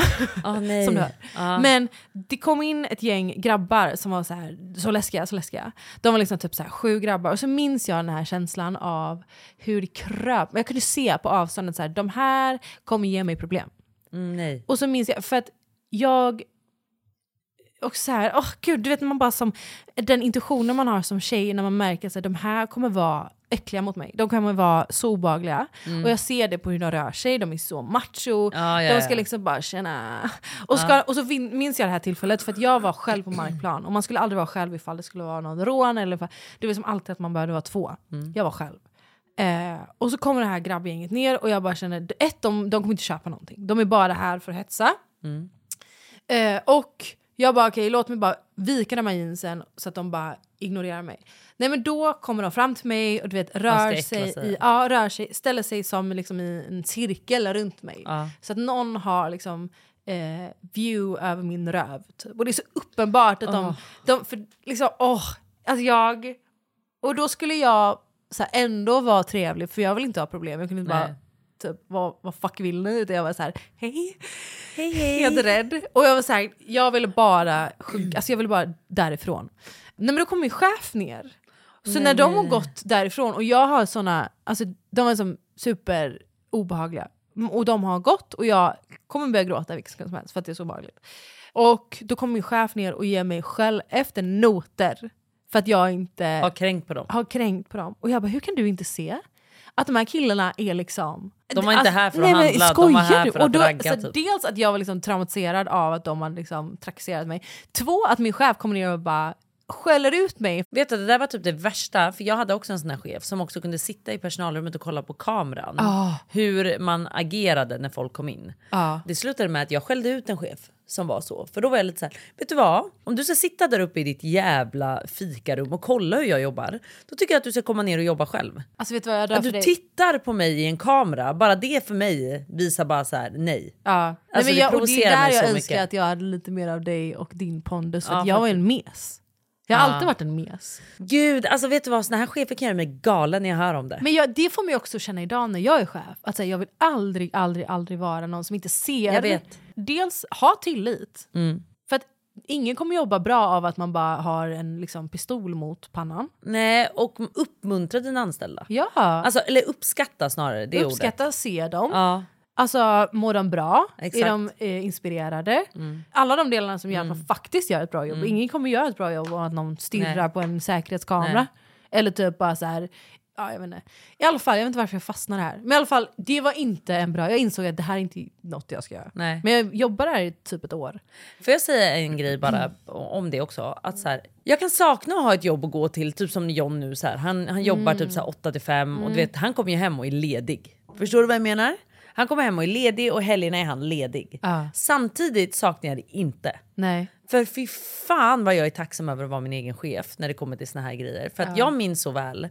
Ah, nej.
Som du hör.
Ah.
Men det kom in ett gäng grabbar som var så här, så läskiga, så läskiga. De var liksom typ så här, sju grabbar och så minns jag den här känslan av hur det kröp. Men Jag kunde se på avståndet så här, de här kommer ge mig problem.
Mm, nej.
Och så minns jag, för att jag... Och så här, åh gud, du vet man bara som den intuitionen man har som tjej när man märker att de här kommer vara äckliga mot mig. De kommer vara så obehagliga. Och jag ser det på hur de rör sig, de är så macho.
Mm. Ja, ja,
de ska
ja.
liksom bara tjena. Och, ska, och så vin- minns jag det här tillfället för att jag var själv på markplan. Och man skulle aldrig vara själv ifall det skulle vara någon rån. Eller ifall, det var som alltid att man behövde vara två.
Mm.
Jag var själv. Eh, och så kommer det här grabbgänget ner och jag bara känner, ett, de, de kommer inte köpa någonting. De är bara här för att hetsa. Eh, och jag bara okej, låt mig bara vika de här jeansen så att de bara ignorerar mig. Nej men då kommer de fram till mig och du vet rör
äckla
sig,
sig.
I, ja, rör sig, ställer sig som liksom i en cirkel runt mig. Så att någon har liksom eh, view över min röv. Typ. Och det är så uppenbart att de, de för liksom åh, alltså jag och då skulle jag så här, ändå vara trevlig för jag vill inte ha problem. Jag kunde inte bara
Nej.
typ vad, vad fuck vill ni? Utan jag var så här hej
Hej hej.
helt rädd. Och jag var såhär, jag ville bara sjunka, alltså jag ville bara därifrån. Nej men då kom min chef ner. Så när de har gått därifrån och jag har såna, alltså de är som super obehagliga. Mm, Och de har gått och jag kommer börja gråta vilken sekund som helst för att det är så obehagligt. Och då kommer min chef ner och ger mig skäll efter noter. För att jag inte
Har kränkt på dem.
har kränkt på dem. Och jag bara, hur kan du inte se att de här killarna är liksom...
De var inte här för att
men
handla, de var här
skojar du?
för att
och då,
ragga,
så
typ.
Dels att jag var liksom traumatiserad av att de hade liksom trakasserat mig. Två, att min chef kom ner och bara skäller ut mig.
Vet du, det där var typ det värsta, för jag hade också en sån här chef som också kunde sitta i personalrummet och kolla på kameran.
Ah.
Hur man agerade när folk kom in.
Ja.
Det slutade med att jag skällde ut en chef som var så. För då var jag lite så här, vet du vad? Om du ska sitta där uppe i ditt jävla fikarum och kolla hur jag jobbar, då tycker jag att du ska komma ner och jobba själv.
Alltså vet du vad jag drar
Att du
för dig?
tittar på mig i en kamera, bara det för mig visar bara så här, nej.
Ja.
Alltså,
Nej, men
det
jag, och det
provocerar
är där
mig så
jag önskar
mycket.
att jag hade lite mer av dig och din pondus. För
Ja,
att jag var ju en mes. Jag har
Ja.
alltid varit en mes.
Gud, alltså vet du vad? Såna här chefer kan göra mig galen när jag hör om det.
Men jag, det får man ju också känna idag när jag är chef. Att säga, jag vill aldrig, aldrig, aldrig vara någon som inte ser.
Jag vet. Mm.
Dels ha tillit. För att ingen kommer jobba bra av att man bara har en liksom, pistol mot pannan.
Nej, och uppmuntra dina anställda.
Ja.
Alltså, eller uppskatta snarare, det är ordet.
Uppskatta, se dem.
Ja.
Alltså, mår de bra?
Exakt.
Är de eh, inspirerade? Alla de delarna som gör att man faktiskt gör ett bra jobb.
Mm.
Ingen kommer göra ett bra jobb av att någon stirrar
Nej.
på en säkerhetskamera.
Nej.
Eller typ bara så här... Ja, jag vet inte. I alla fall, jag vet inte varför jag fastnade här. Men i alla fall, det var inte en bra... Jag insåg att det här är inte något jag ska göra.
Nej.
Men jag jobbar här i typ ett år.
Får jag säga en grej bara om det också? Att så här, jag kan sakna att ha ett jobb att gå till, typ som John nu. Så här. Han, han jobbar
Mm.
typ så här 8 till 5 och du
Mm.
vet, han kommer ju hem och är ledig. Förstår du vad jag menar? Han kommer hem och är ledig och helgerna är han ledig.
Ja.
Samtidigt saknar jag det inte.
Nej.
För fy fan vad jag är tacksam över att vara min egen chef när det kommer till såna här grejer. För att
Ja.
jag minns så väl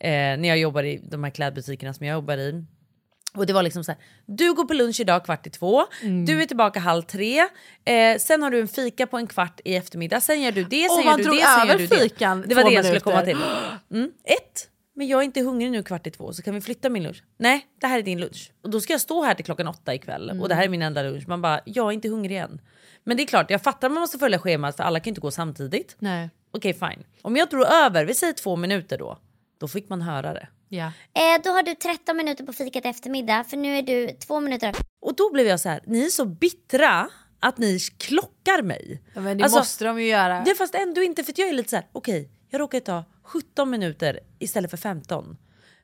eh, när jag jobbar i de här klädbutikerna som jag jobbar i. Och det var liksom så här, du går på lunch idag kvart i två,
Mm.
du är tillbaka halv tre, eh, sen har du en fika på en kvart i eftermiddag, sen gör du det,
Och
sen gör
man
du
drog
det, sen gör
över
du det.
fikan
Det var
två
det jag skulle
minuter.
komma till. Mm. Ett, men jag är inte hungrig nu kvart i två så kan vi flytta min lunch? Nej, det här är din lunch. Och då ska jag stå här till klockan åtta ikväll
Mm.
och det här är min enda lunch. Man bara, jag är inte hungrig än. Men det är klart, jag fattar att man måste följa schemat för alla kan ju inte gå samtidigt.
Nej.
Okej fine. Om jag drog över, vi säger två minuter då, då fick man höra det.
Ja.
Eh, då har du 13 minuter på fikat i eftermiddag för nu är du två minuter
Och då blev jag så här, ni är så bittra att ni klockar mig. Alltså,
Ja, men det måste de ju göra.
Det fast ändå inte för att jag är lite så här, okej, jag råkar ta 17 minuter istället för 15.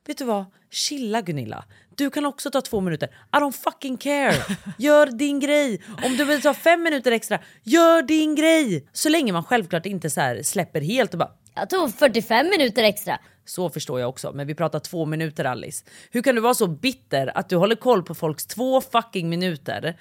Vet du vad? Chilla Gunilla. Du kan också ta två minuter. I don't fucking care. Gör din grej. Om du vill ta fem minuter extra, gör din grej. Så länge man självklart inte så här släpper helt och bara
Jag tog 45 minuter extra.
så förstår jag också, men vi pratar två minuter Alice. Hur kan du vara så bitter att du håller koll på folks två fucking minuter?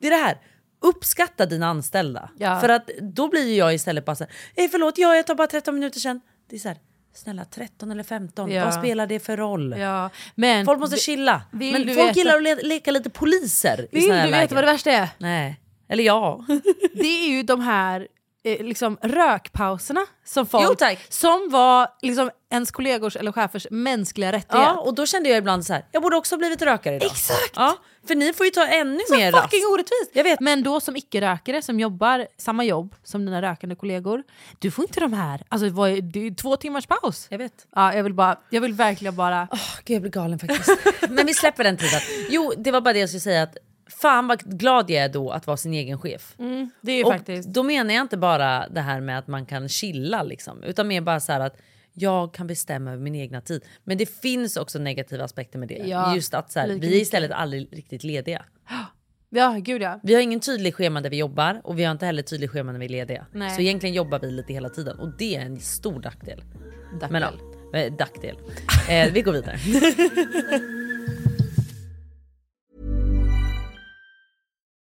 Det är det här, uppskatta dina anställda.
Ja.
För att då blir ju jag istället bara så här, "Eh, förlåt, ja, jag tar bara 13 minuter sen. Det är så här, snälla 13 eller 15,
Ja.
vad spelar det för roll?
Ja. Men,
folk måste chilla.
vill
Men
du
folk
veta-
gillar att le- leka lite poliser i
Vill
såna här
du veta vad det värsta är?
Nej, eller ja.
det är ju de här eh, liksom, rökpauserna som folk...
Jo, tack.
Som var liksom, ens kollegors eller chefers mänskliga rättighet.
Ja, och då kände jag ibland så här, jag borde också ha blivit rökare idag. Exakt! Ja, för ni får ju ta ännu
så
mer
fucking
rast.
orättvist! Men då som icke-rökare som jobbar samma jobb som dina rökande kollegor, du får inte de här... Alltså, vad är, det är ju två timmars paus.
Jag vet.
Ja, jag, vill bara, jag vill verkligen bara...
Gud, jag blir galen faktiskt. Men vi släpper den tiden. Jo, det var bara det jag skulle säga. att Fan vad glad jag är då att vara sin egen chef.
Mm, det är
och
faktiskt...
då menar jag inte bara det här med att man kan chilla liksom. Utan mer bara så här att jag kan bestämma över min egna tid. Men det finns också negativa aspekter med det.
Ja,
Just att så här,
lika
vi är
mycket.
istället aldrig riktigt lediga.
Ja, gud ja.
Vi har ingen tydlig schema där vi jobbar och vi har inte heller tydlig schema när vi är lediga.
Nej.
Så egentligen jobbar vi lite hela tiden och det är en stor nackdel.
Dackdel.
Men ja, eh, dackdel. Eh, vi går vidare.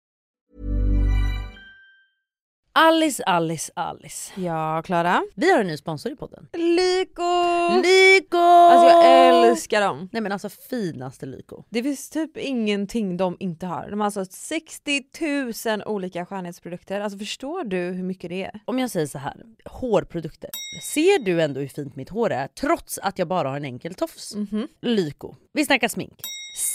Alice, Alice, Alice.
Ja, Klara.
Vi har en ny sponsor i podden.
Lyko!
Lyko!
Alltså jag älskar dem.
Nej men alltså finaste Lyko.
Det finns typ ingenting de inte har. De har alltså 60 000 olika skönhetsprodukter. Alltså förstår du hur mycket det är?
Om jag säger så här, hårprodukter. Ser du ändå hur fint mitt hår är trots att jag bara har en enkel tofs?
Mhm.
Lyko. Vi snackar smink.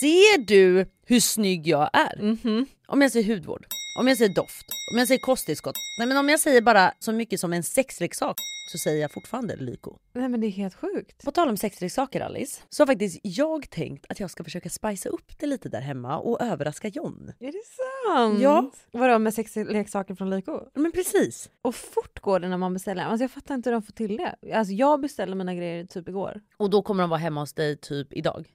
Ser du hur snygg jag är?
Mhm.
Om jag säger hudvård, om jag säger doft, om jag säger kosttillskott. Nej men om jag säger bara så mycket som en sexleksak så säger jag fortfarande Lyko.
Nej men det är helt sjukt.
På tal om sexleksaker Alice, så har faktiskt jag tänkt att jag ska försöka spicea upp det lite där hemma och överraska John.
Är det sant?
Ja.
Vadå med sexleksaker från Lyko?
Men precis.
Och fort går det när man beställer. Alltså jag fattar inte hur de får till det. Alltså jag beställde mina grejer typ igår.
Och då kommer de vara hemma hos dig typ idag.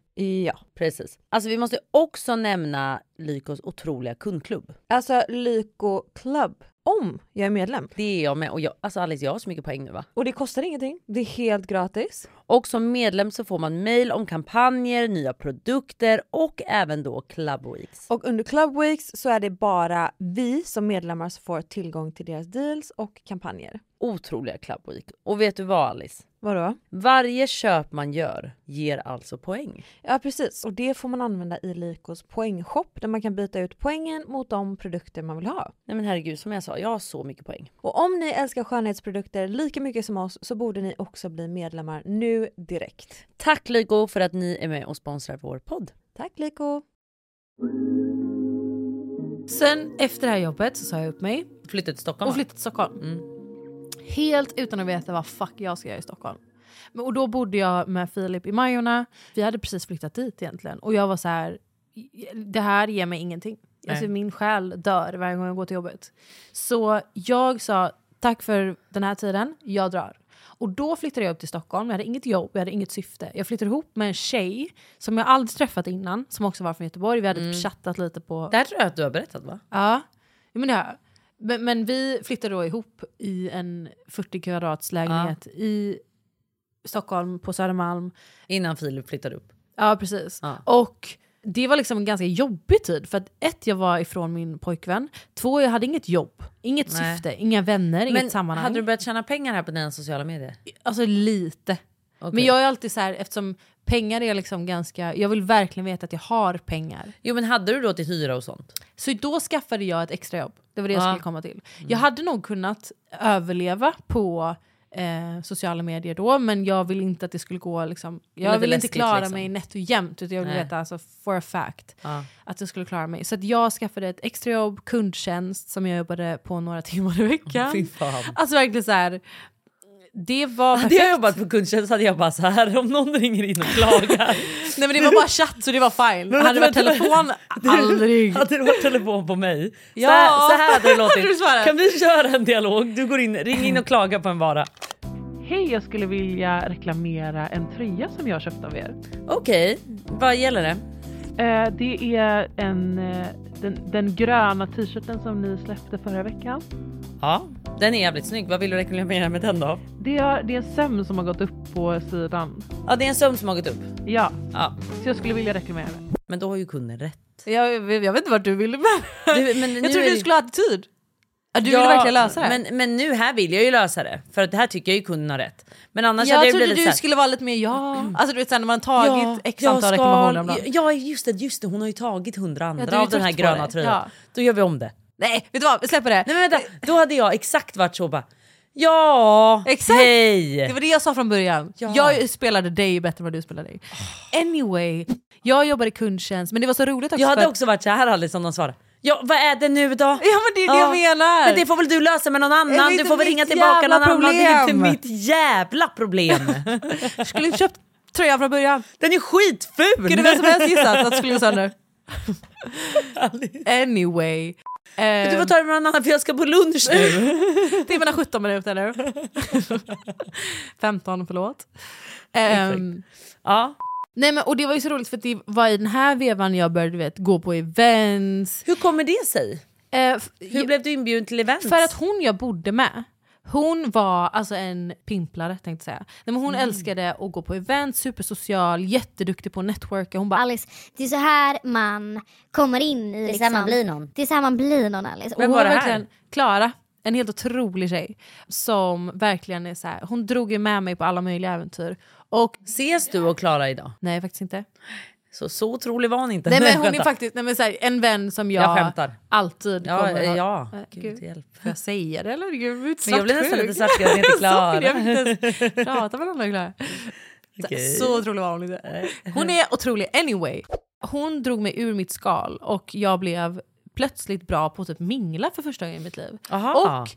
Ja.
Precis. Alltså vi måste också nämna Lykos otroliga kundklubb.
Alltså Lyko Club. Om jag är medlem.
Det är jag med. Och jag, alltså Alice jag har så mycket poäng nu va?
Och det kostar ingenting. Det är helt gratis.
Och som medlem så får man mail om kampanjer, nya produkter och även då Club Weeks.
Och under Club Weeks så är det bara vi som medlemmar som får tillgång till deras deals och kampanjer.
Otroliga Club Week. Och vet du vad Alice?
Vadå?
Varje köp man gör ger alltså poäng.
Ja precis, och det får man använda i Lykos poängshop där man kan byta ut poängen mot de produkter man vill ha.
Nej men herregud som jag sa, jag har så mycket poäng.
Och om ni älskar skönhetsprodukter lika mycket som oss så borde ni också bli medlemmar nu direkt.
Tack Lyko för att ni är med och sponsrar vår podd.
Tack Lyko!
Sen efter det här jobbet så sa jag upp mig
Flyttade till Stockholm Mm.
och
va?
flyttade till Stockholm. Helt utan att veta vad fuck jag ska göra i Stockholm. Men, och då bodde jag med Filip i Majorna. Vi hade precis flyttat dit egentligen. Och jag var så här, det här ger mig ingenting.
Nej.
Alltså, min själ dör varje gång jag går till jobbet. Så jag sa tack för den här tiden, jag drar. Och då flyttade jag upp till Stockholm, jag hade inget jobb, jag hade inget syfte. Jag flyttade ihop med en tjej som jag aldrig träffat innan, som också var från Göteborg. Vi hade
Mm.
typ chattat lite på
Där tror jag att du har berättat va?
Ja, jo, men det har jag. men, men vi flyttade då ihop i en 40 kvadrats lägenhet i Stockholm, på Södermalm.
Innan Filip flyttade upp.
Ja, precis.
Ja.
Och det var liksom en ganska jobbig tid. För att ett, jag var ifrån min pojkvän. Två, jag hade inget jobb, inget
Nej.
syfte, inga vänner,
Men
inget sammanhang.
hade du börjat tjäna pengar här på dina sociala medier?
Alltså lite.
Okej.
Men jag är alltid så här, eftersom pengar är liksom ganska... Jag vill verkligen veta att jag har pengar.
Jo men hade du då till hyra och sånt?
Så då skaffade jag ett extrajobb. Det var det jag
Ja.
skulle komma till. Jag hade nog kunnat överleva på eh, sociala medier då, men jag vill inte att det skulle gå... Liksom, jag
Lite
vill inte
läskigt,
klara
liksom.
mig nätt och jämnt, utan jag vill
Nej.
veta alltså, for a fact
Ja.
att jag skulle klara mig. Så att jag skaffade ett extrajobb, kundtjänst, som jag jobbade på några timmar i
Fy
veckan.
fan.
Alltså verkligen så här... Det var
Hade jag
perfekt.
jobbat på kundtjänst hade jag bara så här om någon ringer in och klagar.
Nej men det var bara chatt så det var fine.
Men
Hade det varit
vänta, vänta.
telefon, aldrig.
Hade det varit telefon på mig,
Ja.
så, här, så här hade det
Hade du
låtit.
svarat?
Kan vi köra en dialog? Du går in, ring in och klaga på en vara.
Hej, jag skulle vilja reklamera en tröja som jag köpt av er.
Okej, vad gäller det?
Eh, det är en, eh, den, den gröna t-shirten som ni släppte förra veckan.
Ja, den är jävligt snygg. Vad vill du reklamera med den då?
Det är, det är en söm som har gått upp på sidan.
Ja, det är en söm som har gått upp.
Ja,
Ja,
så jag skulle vilja reklamera den.
men då har ju kunden rätt.
Jag, jag vet inte vart du ville med
Du, men nu
Jag trodde
är
du
det-
skulle ha attityd. Ja, Du
Ja,
ville verkligen lösa det. Alltså,
Men, men nu här vill jag ju lösa det för att det här tycker jag ju kunden har rätt. Men annars hade
jag
jag ju
trodde
blivit så
du
här,
skulle vara lite mer ja. Alltså du vet såhär när man har tagit x
jag
antal
ska-
reklamationer om dagen.
Ja just det, just det, hon har ju tagit hundra andra
du är
av den här
trött på
gröna
det.
tröjan.
Ja.
Då gör vi om det.
Nej, vet du vad? Vi släpper det.
Nej men vänta, då hade jag exakt varit så bara. Ja!
Exakt!
Hej!
Det var det jag sa från början.
Ja.
Jag spelade dig bättre än vad du spelade dig. Anyway, jag jobbade i kundtjänst men det var så roligt också
Jag hade
för att-
också varit så här Alice om någon svarade. Ja vad är det nu då? Ja
men det är det jag menar.
Men det får väl du lösa med någon
Det är
annan.
inte
Du får väl ringa
mitt
tillbaka
jävla
någon annan. Det är inte
problem.
mitt jävla problem.
skulle köpt tröjan från början.
Den är skitful!
Kunde vem som helst gissat att det skulle gå sönder. anyway.
Men du får ta det med någon annan för jag ska på lunch nu.
det är mina 17 minuter nu. 15, förlåt. Ehm,
ja.
Nej, men, och det var ju så roligt för att det var i den här vevan jag började du vet, gå på events. Eh,
Hur kommer det sig?
Hur
blev du inbjuden till events?
För att hon jag bodde med, hon var alltså en pimplare tänkte jag säga. Nej, men hon
Mm.
älskade att gå på events, supersocial, jätteduktig på att networka. Hon bara
Alice, det är så här man kommer in i...
är så
liksom-
man blir någon.
Det är så här man blir någon Alice.
Och hon är verkligen- Klara, en helt otrolig tjej. Som verkligen är så här, hon drog ju med mig på alla möjliga äventyr. Och
Ses du och Klara idag?
Nej faktiskt inte.
Så, så otrolig var hon inte.
Nej men hon är
skämtar.
faktiskt nej, men så här, en vän som jag,
Jag skämtar.
alltid
Ja,
kommer
eh, ja.
Eh,
Gud, hjälp.
Får jag säga det eller? Gud, jag
Men jag blev nästan
svartsjuk.
lite svartsjuk, jag är inte klar.
Sorry, jag vill inte ens prata med någon klar.
Okej.
Så otrolig var hon inte. Hon är otrolig anyway. Hon drog mig ur mitt skal och jag blev plötsligt bra på att typ mingla för första gången i mitt liv.
Aha.
Och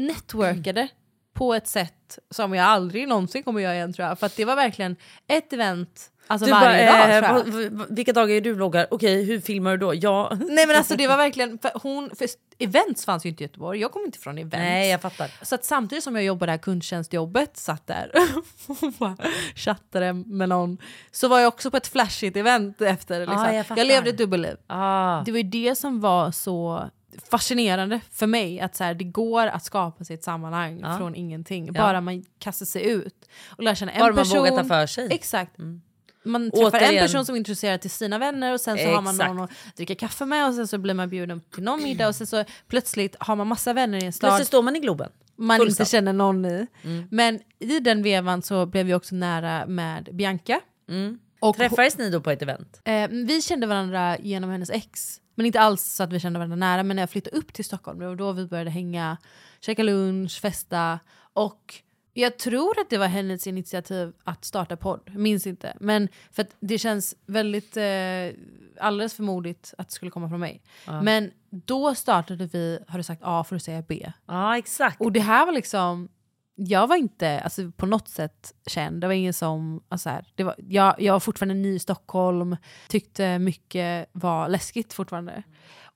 networkade på ett sätt som jag aldrig någonsin kommer göra igen tror jag. För att det var verkligen ett event alltså
Du
varje
bara,
dag
eh,
tror jag.
vad- vad- Vilka dagar är du vloggar? Okej, hur filmar du då? Ja.
Nej men alltså det var verkligen, för hon, för events fanns ju inte i Göteborg, jag kom inte från events.
Nej, jag fattar.
Så att samtidigt som jag jobbade det här kundtjänstjobbet, satt där och bara chattade med någon, så var jag också på ett flashigt event efter. Liksom.
jag
jag,
fattar.
levde ett dubbelliv.
Ah.
Det var ju det som var så fascinerande för mig, att så här, det går att skapa sig ett sammanhang
Ja.
från ingenting,
Ja.
bara man kastar sig ut och lär känna en
Bara man
person.
vågar ta för sig. Mm.
Exakt. Man träffar en
Återigen.
person som är intresserad till sina vänner och sen så har man
Exakt.
någon att dricka kaffe med och sen så blir man bjuden till någon middag och sen så plötsligt har man massa vänner i en stad
Plötsligt står man i Globen.
man inte
Fullsatt.
känner någon i.
Mm.
Men i den vevan så blev jag också nära med Bianca.
Mm.
Och
Träffades ni då på ett event?
Eh, vi kände varandra genom hennes ex. Men inte alls så att vi kände varandra nära. Men när jag flyttade upp till Stockholm, det var då vi började hänga, käka lunch, festa. Och jag tror att det var hennes initiativ att starta podd. Minns inte. Men för att det känns väldigt eh, alldeles förmodigt att det skulle komma från mig.
Ja.
Men då startade vi, har du sagt A får du säga B.
Ja, exakt.
Och det här var liksom, jag var inte alltså, på något sätt känd. Det var ingen som, alltså, här, det var, jag, jag var fortfarande ny i Stockholm, tyckte mycket var läskigt fortfarande.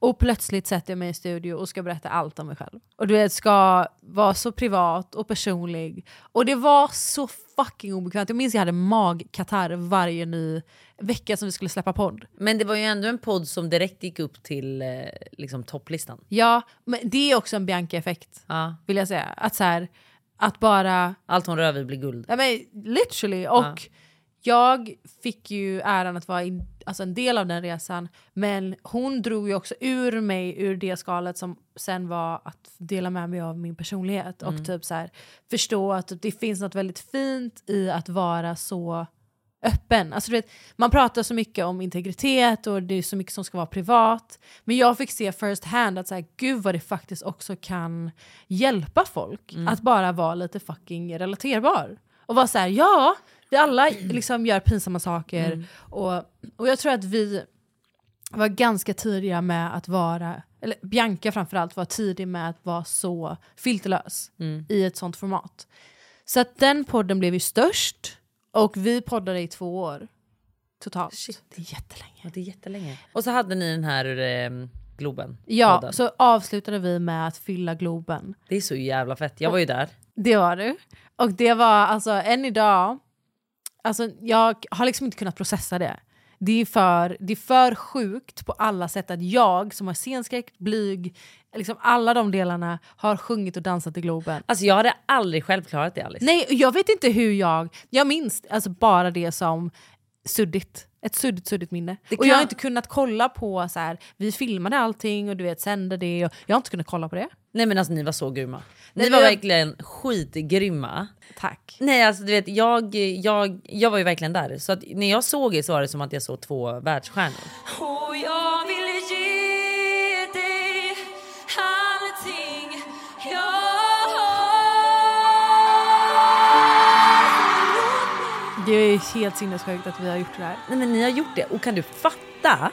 Och plötsligt sätter jag mig i en studio och ska berätta allt om mig själv. Och du vet, ska vara så privat och personlig. Och det var så fucking obekvämt. Jag minns jag hade magkatarr varje ny vecka som vi skulle släppa podd.
Men det var ju ändå en podd som direkt gick upp till eh, liksom, topplistan.
Ja, men det är också en Bianca-effekt, vill jag säga. Att, så här, att bara...
Allt hon rör vid blir guld.
Ja, men, literally. Och jag fick ju äran att vara in, alltså en del av den resan. Men hon drog ju också ur mig ur det skalet som sen var att dela med mig av min personlighet.
Mm.
Och typ så här, förstå att det finns något väldigt fint i att vara så öppen. Alltså, du vet, man pratar så mycket om integritet och det är så mycket som ska vara privat. Men jag fick se first hand att så här, gud vad det faktiskt också kan hjälpa folk
Mm.
att bara vara lite fucking relaterbar. Och vara så här, ja, vi alla liksom gör pinsamma saker.
Mm.
Och, och jag tror att vi var ganska tidiga med att vara, eller Bianca framförallt var tidig med att vara så filterlös
Mm.
i ett sånt format. Så att den podden blev ju störst och vi poddade i två år totalt. Det är jättelänge.
Ja, det är jättelänge. Och så hade ni den här eh, Globen.
Ja,
podden.
så avslutade vi med att fylla Globen.
Det är så jävla fett. Jag var ju där.
Det var du. Och det var alltså än idag, alltså jag har liksom inte kunnat processa det. Det är, för, det är för sjukt på alla sätt att jag som har scenskräck, blyg, liksom alla de delarna har sjungit och dansat i Globen.
Alltså jag hade aldrig själv klarat det Alice.
Nej, och jag vet inte hur jag... Jag minns alltså bara det som suddigt. Ett suddigt, suddigt minne.
Det
Och jag har
kan-
inte kunnat kolla på så här, vi filmade allting och du vet sände det. Och jag har inte kunnat kolla på det.
Nej men alltså ni var så grymma. Ni
Nej,
var
men jag-
verkligen skitgrymma.
Tack.
Nej alltså du vet jag, jag, jag var ju verkligen där. Så att när jag såg er så var det som att jag såg två världsstjärnor.
Och jag vill ge dig allting jag har
Det är helt sinnessjukt att vi har gjort det här.
Nej men ni har gjort det och kan du fatta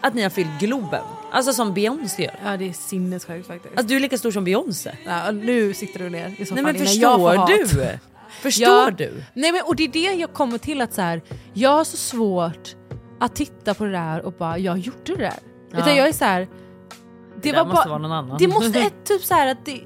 att ni har fyllt Globen? Alltså som Beyoncé gör.
Ja det är sinnessjukt faktiskt.
Alltså du är lika stor som Beyoncé.
Ja, nu sitter du ner i soffan
Nej men
innan jag får
förstår du?
hat.
Förstår
Ja.
du?
Nej men och det är det jag kommer till att så här, jag har så svårt att titta på det där och bara jag gjorde det där.
Ja.
Utan jag är så här,
Det där måste vara någon annan.
Det måste ett typ så här att det,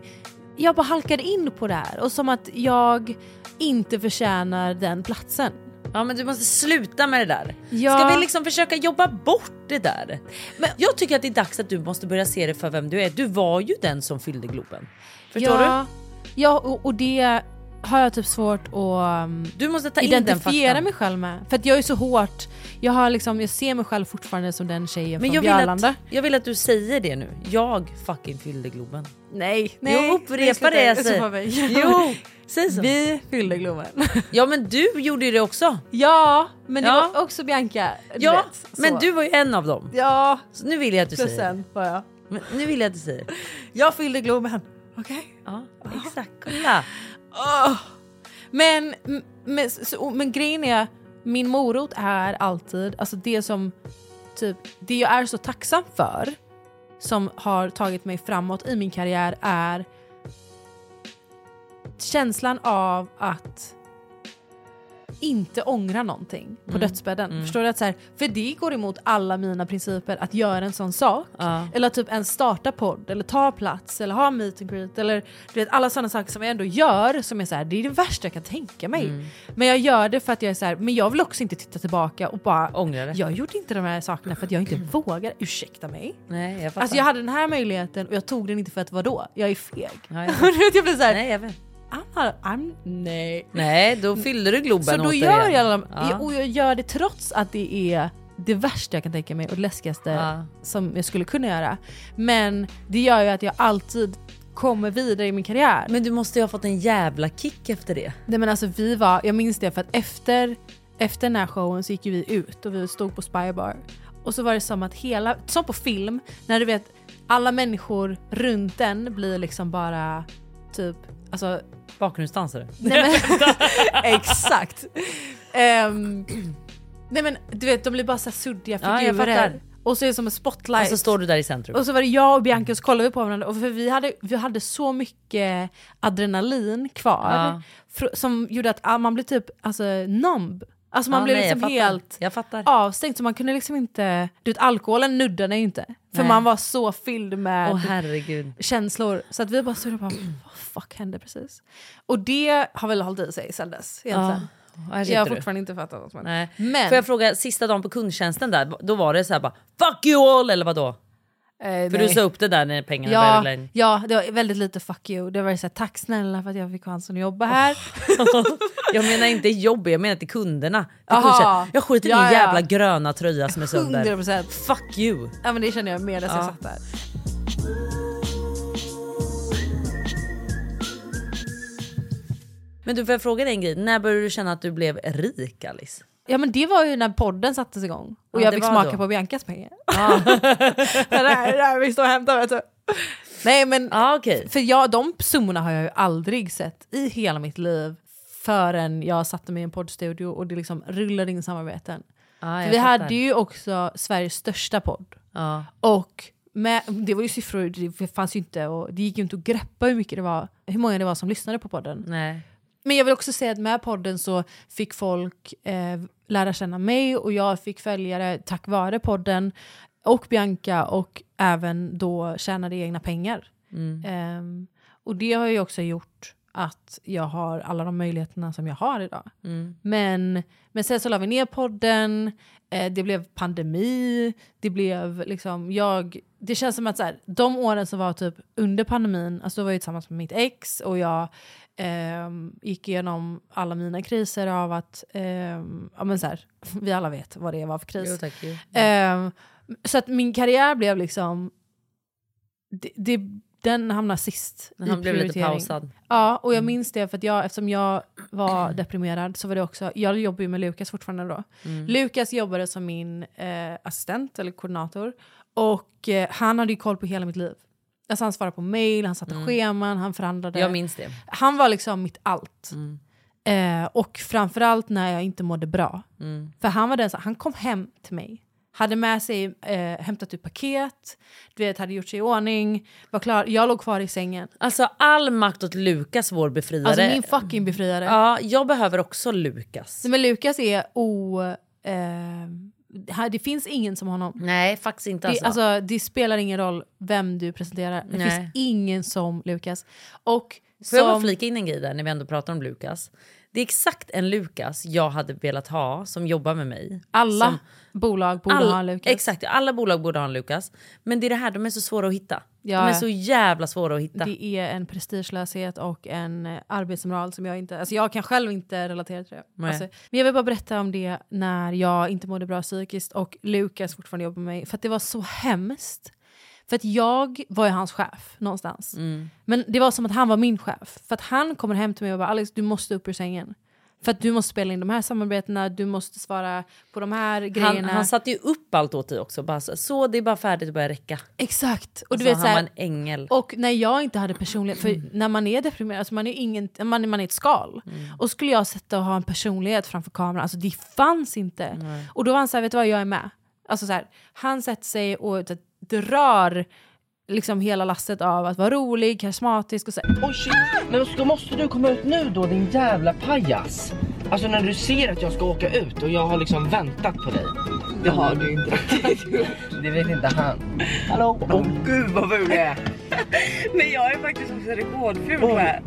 jag bara halkade in på det här och som att jag inte förtjänar den platsen.
Ja men du måste sluta med det där.
Ja.
Ska vi liksom försöka jobba bort det där? Men jag tycker att det är dags att du måste börja se det för vem du är. Du var ju den som fyllde Globen. Förstår
ja,
du?
du? Ja och, och det har jag typ svårt att um,
Du måste ta in den
identifiera
faktan.
mig själv med. För att jag är så hårt, jag, har liksom, jag ser mig själv fortfarande som den tjejen
Men
från
jag vill,
Björlanda.
att, jag vill att du säger det nu. Jag fucking fyllde Globen.
Nej,
Nej,
jo,
det alltså. ska
upprepa
inte
det
upprepa
jag säger.
mig.
Jo,
säg så.
Vi fyllde Globen.
Ja men du gjorde ju det också.
Ja, men det
Ja.
var också Bianca. du
Ja,
vet, så.
men du var ju en av dem.
Ja,
Så nu vill jag att du
plus
säger det.
en var jag.
Men nu vill jag att du säger det.
Jag fyllde Globen. Okej?
Ja, exakt. Kolla.
Åh. Men, m- men, så, men grejen är, min morot är alltid, alltså det som typ, det jag är så tacksam för som har tagit mig framåt i min karriär är känslan av att inte ångra någonting på
Mm,
dödsbädden.
mm.
Förstår du? Att så här, för det går emot alla mina principer att göra en sån sak.
Ja.
Eller att typ ens starta podd, eller ta plats, eller ha meet and greet. Eller du vet, alla sådana saker som jag ändå gör som är så här, det är det värsta jag kan tänka mig.
Mm.
Men jag gör det för att jag är så här, men jag vill också inte titta tillbaka och bara
Ångrar det.
Jag gjorde inte de här sakerna för att jag inte vågar. Ursäkta mig.
Nej, jag fattar.
Alltså jag hade den här möjligheten och jag tog den inte för att vadå? Jag är feg.
Ja, jag
jag,
vet.
jag typ blir såhär,
Nej, jag vet.
I'm not, I'm, nej.
Nej, då fyllde du Globen
Så då
återigen.
gör jag dem,
Ja.
och jag gör det trots att det är det värsta jag kan tänka mig och det läskigaste
Ja.
som jag skulle kunna göra. Men det gör ju att jag alltid kommer vidare i min karriär.
Men du måste ju ha fått en jävla kick efter det.
Nej men alltså vi var, jag minns det för att efter, efter den här showen så gick ju vi ut och vi stod på Spybar. Och så var det som att hela, som på film, när du vet alla människor runt en blir liksom bara typ, alltså
Bakgrundsdansare.
Nej, men, exakt. Ehm, nej men du vet de blir bara så här suddiga
Ja, jag
figurer.
fattar.
och så är det som en spotlight.
Och så står du där i centrum.
Och så var det jag och Bianca och så kollade vi på varandra och för vi hade, vi hade så mycket adrenalin kvar
Ja.
fr- som gjorde att ah, man blev typ alltså, numb. Alltså man
Ja,
blev
nej,
liksom
jag fattar.
helt
Jag fattar.
avstängd så man kunde liksom inte, du vet alkoholen nuddade ju inte. För
Nej.
man var så fylld med
Åh herregud.
känslor. Så att vi bara stod och bara, vad fuck hände precis? Och det har väl hållit i sig sedan dess egentligen.
och här sitter
jag har
du.
fortfarande inte fattat vad som hände.
Nej.
Men-
Får jag fråga, sista dagen på kundtjänsten där, då var det så här bara FUCK YOU ALL eller vadå?
Eh,
För
nej.
du sa upp det där när pengarna började
Ja,
rulla in.
ja, det var väldigt lite fuck you. Det var så här, tack snälla för att jag fick chansen att jobba här.
Jag menar inte jobb, jag menar till kunderna. Till
Aha.
kundtjänsten. jag skiter i din
Ja, ja.
jävla gröna tröja som är sönder.
100%.
Fuck you!
Ja men det kände jag medan
Ja.
jag satt där.
Men du, får jag fråga dig en grej? När började du känna att du blev rik Alice?
Ja men det var ju när podden sattes igång och
Ja,
jag
det
fick
var
smaka
då.
på Biancas pengar. det där, det där vi står och hämtar vet du. Nej men,
ah, okay.
för jag, de summorna har jag ju aldrig sett i hela mitt liv förrän jag satte mig i en poddstudio och det liksom rullade in samarbeten.
Ah,
För
jag
vi
fattar.
hade ju också Sveriges största podd.
Ja.
Och med, det var ju siffror, det fanns ju inte och det gick ju inte att greppa hur mycket det var, hur många det var som lyssnade på podden.
Nej.
Men jag vill också säga att med podden så fick folk eh, lära känna mig och jag fick följare tack vare podden och Bianca och även då tjänade egna pengar.
Mm.
Ehm, och det har ju också gjort att jag har alla de möjligheterna som jag har idag.
Mm.
Men, men sen så la vi ner podden, eh, det blev pandemi, det blev liksom jag... Det känns som att så här, de åren som var typ under pandemin, alltså då var jag ju tillsammans med mitt ex och jag ehm, gick igenom alla mina kriser av att, ehm, ja men så här, vi alla vet vad det var för kris.
Jo, tack, jo.
Ehm, så att min karriär blev liksom, det, det, den hamnar sist
Men
i
han blev lite
prioritering.
pausad. Mm.
Ja, och jag minns det för att jag, eftersom jag var deprimerad så var det också, jag jobbar ju med Lukas fortfarande då.
Mm.
Lukas jobbade som min eh, assistent eller koordinator och eh, han hade ju koll på hela mitt liv. Alltså han svarade på mail, han satte
Mm.
scheman, han förhandlade.
Jag minns det. Mm.
Han var liksom mitt allt. Eh, och framförallt när jag inte mådde bra.
Mm.
För han var den som, han kom hem till mig. Hade med sig, eh, hämtat ut paket, du vet, hade gjort sig i ordning, var klar. Jag låg kvar i sängen.
Alltså all makt åt Lukas, vår befriare.
Alltså min fucking befriare.
Ja, jag behöver också Lukas.
Nej, men Lukas är o... Eh, här- det finns ingen som honom.
Nej, faktiskt inte.
Det,
Mm, Alltså.
alltså, det spelar ingen roll vem du presenterar. Det
Nej.
finns ingen som Lukas. Och
Får jag bara
som...
flika in en grej där när vi ändå pratar om Lukas? Det är exakt en Lukas jag hade velat ha som jobbar med mig.
Alla
Som-
bolag borde
All-
ha en Lukas.
Exakt, alla bolag borde ha en Lukas. Men det är det här, de är så svåra att hitta.
Ja.
De är så jävla svåra att hitta.
Det är en prestigelöshet och en eh, arbetsmoral som jag inte... Alltså jag kan själv inte relatera till det.
Nej.
Alltså, men jag vill bara berätta om det när jag inte mådde bra psykiskt och Lukas fortfarande jobbar med mig. För att det var så hemskt. För att jag var ju hans chef någonstans.
Mm.
Men det var som att han var min chef. För att han kommer hem till mig och bara Alex du måste upp ur sängen. För att du måste spela in de här samarbetena, du måste svara på de här
Han,
grejerna.
han satte ju upp allt åt dig också. Bara så, så det är bara färdigt, det börjar räcka.
Exakt. Och
Och
du
du
vet,
han
så här-
var en ängel.
Och när jag inte hade personlighet, för när man är deprimerad, alltså man, är ingen, man, är- man är ett skal. Och skulle jag sätta och ha en personlighet framför kameran, alltså det fanns inte.
Nej.
Och då var han såhär, vet du vad, jag är med. Alltså så här, han sätter sig och så här, drar liksom hela lasset av att vara rolig, karismatisk och så här.
Men då måste du komma ut nu då din jävla pajas. Alltså när du ser att jag ska åka ut och jag har liksom väntat på dig. Det har du inte Det vet inte han. Hallå? Åh gud vad ful jag är.
Men jag är faktiskt också rekordful med.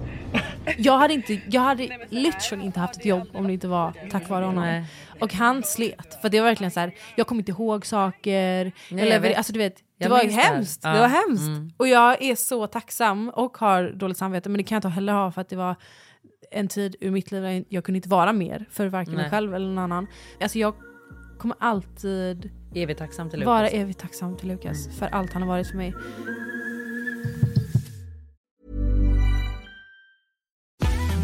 Jag hade, inte, jag hade literally inte haft ett jobb om det inte var tack vare honom.
Nej.
Och han slet. För det var verkligen så här, jag kommer inte ihåg saker.
jag
jag lever,
vet.
alltså du vet, det
Jag
var
minns det här.
hemskt. Det,
Ja.
var hemskt.
Mm.
Och jag är så tacksam och har dåligt samvete. Men det kan jag inte heller ha för att det var en tid ur mitt liv där jag kunde inte vara mer för varken mig
Nej.
själv eller någon annan. Alltså jag kommer alltid
Evigt tacksam till Lukas.
vara evigt tacksam till Lukas för allt han har varit för mig.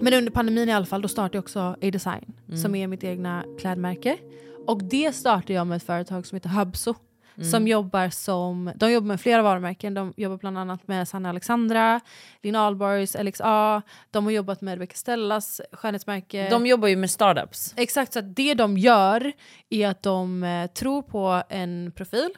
Men under pandemin i alla fall, då startade jag också A-Design
Mm.
som är mitt egna klädmärke. Och det startade jag med ett företag som heter Hubso.
Mm.
Som jobbar som, de jobbar med flera varumärken. De jobbar bland annat med Sanna Alexandra, Linn Ahlborgs, LXA. De har jobbat med Rebecca Stellas skönhetsmärke.
De jobbar ju med startups.
Exakt, så att det de gör är att de eh, tror på en profil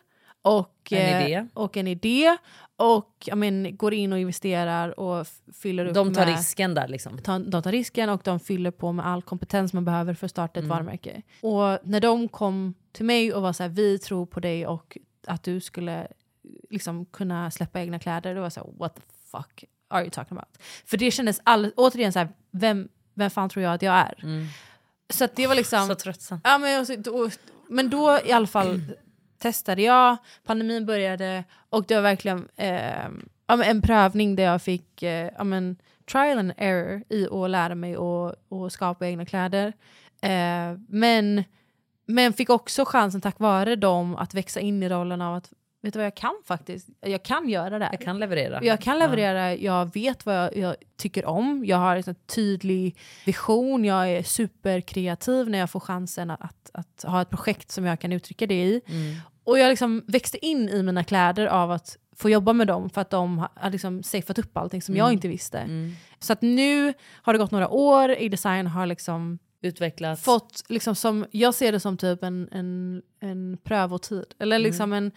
och eh,
En idé.
och, en idé, och ja, men, går in och investerar och f- fyller upp
De tar
med,
risken där liksom.
ta- de tar risken och de fyller på med all kompetens man behöver för att starta ett
Mm.
varumärke. Och när de kom till mig och var så här, vi tror på dig och att du skulle liksom kunna släppa egna kläder, då var jag så här, what the fuck are you talking about? För det kändes all, återigen så här, vem, vem fan tror jag att jag är? Så att det var liksom...
Mm. Så tröttsam.
Ja, men, och så- då, men då i alla fall testade jag, pandemin började och det var verkligen eh, ja, men en prövning där jag fick eh, ja, men, trial and error i att lära mig att att skapa egna kläder. Eh, men, men fick också chansen tack vare dem att växa in i rollen av att vet du vad jag kan faktiskt, jag kan göra det här.
Jag kan leverera.
Jag kan leverera, jag vet vad jag, jag tycker om, jag har en tydlig vision, jag är superkreativ när jag får chansen att, att, att ha ett projekt som jag kan uttrycka det i.
Mm.
Och jag liksom växte in i mina kläder av att få jobba med dem för att de har- har liksom safeat upp allting som jag
Mm.
inte visste.
Mm.
Så att nu har det gått några år, i design har liksom
Utvecklats.
fått, liksom som, jag ser det som typ en, en, en prövotid. Eller
Mm.
liksom en,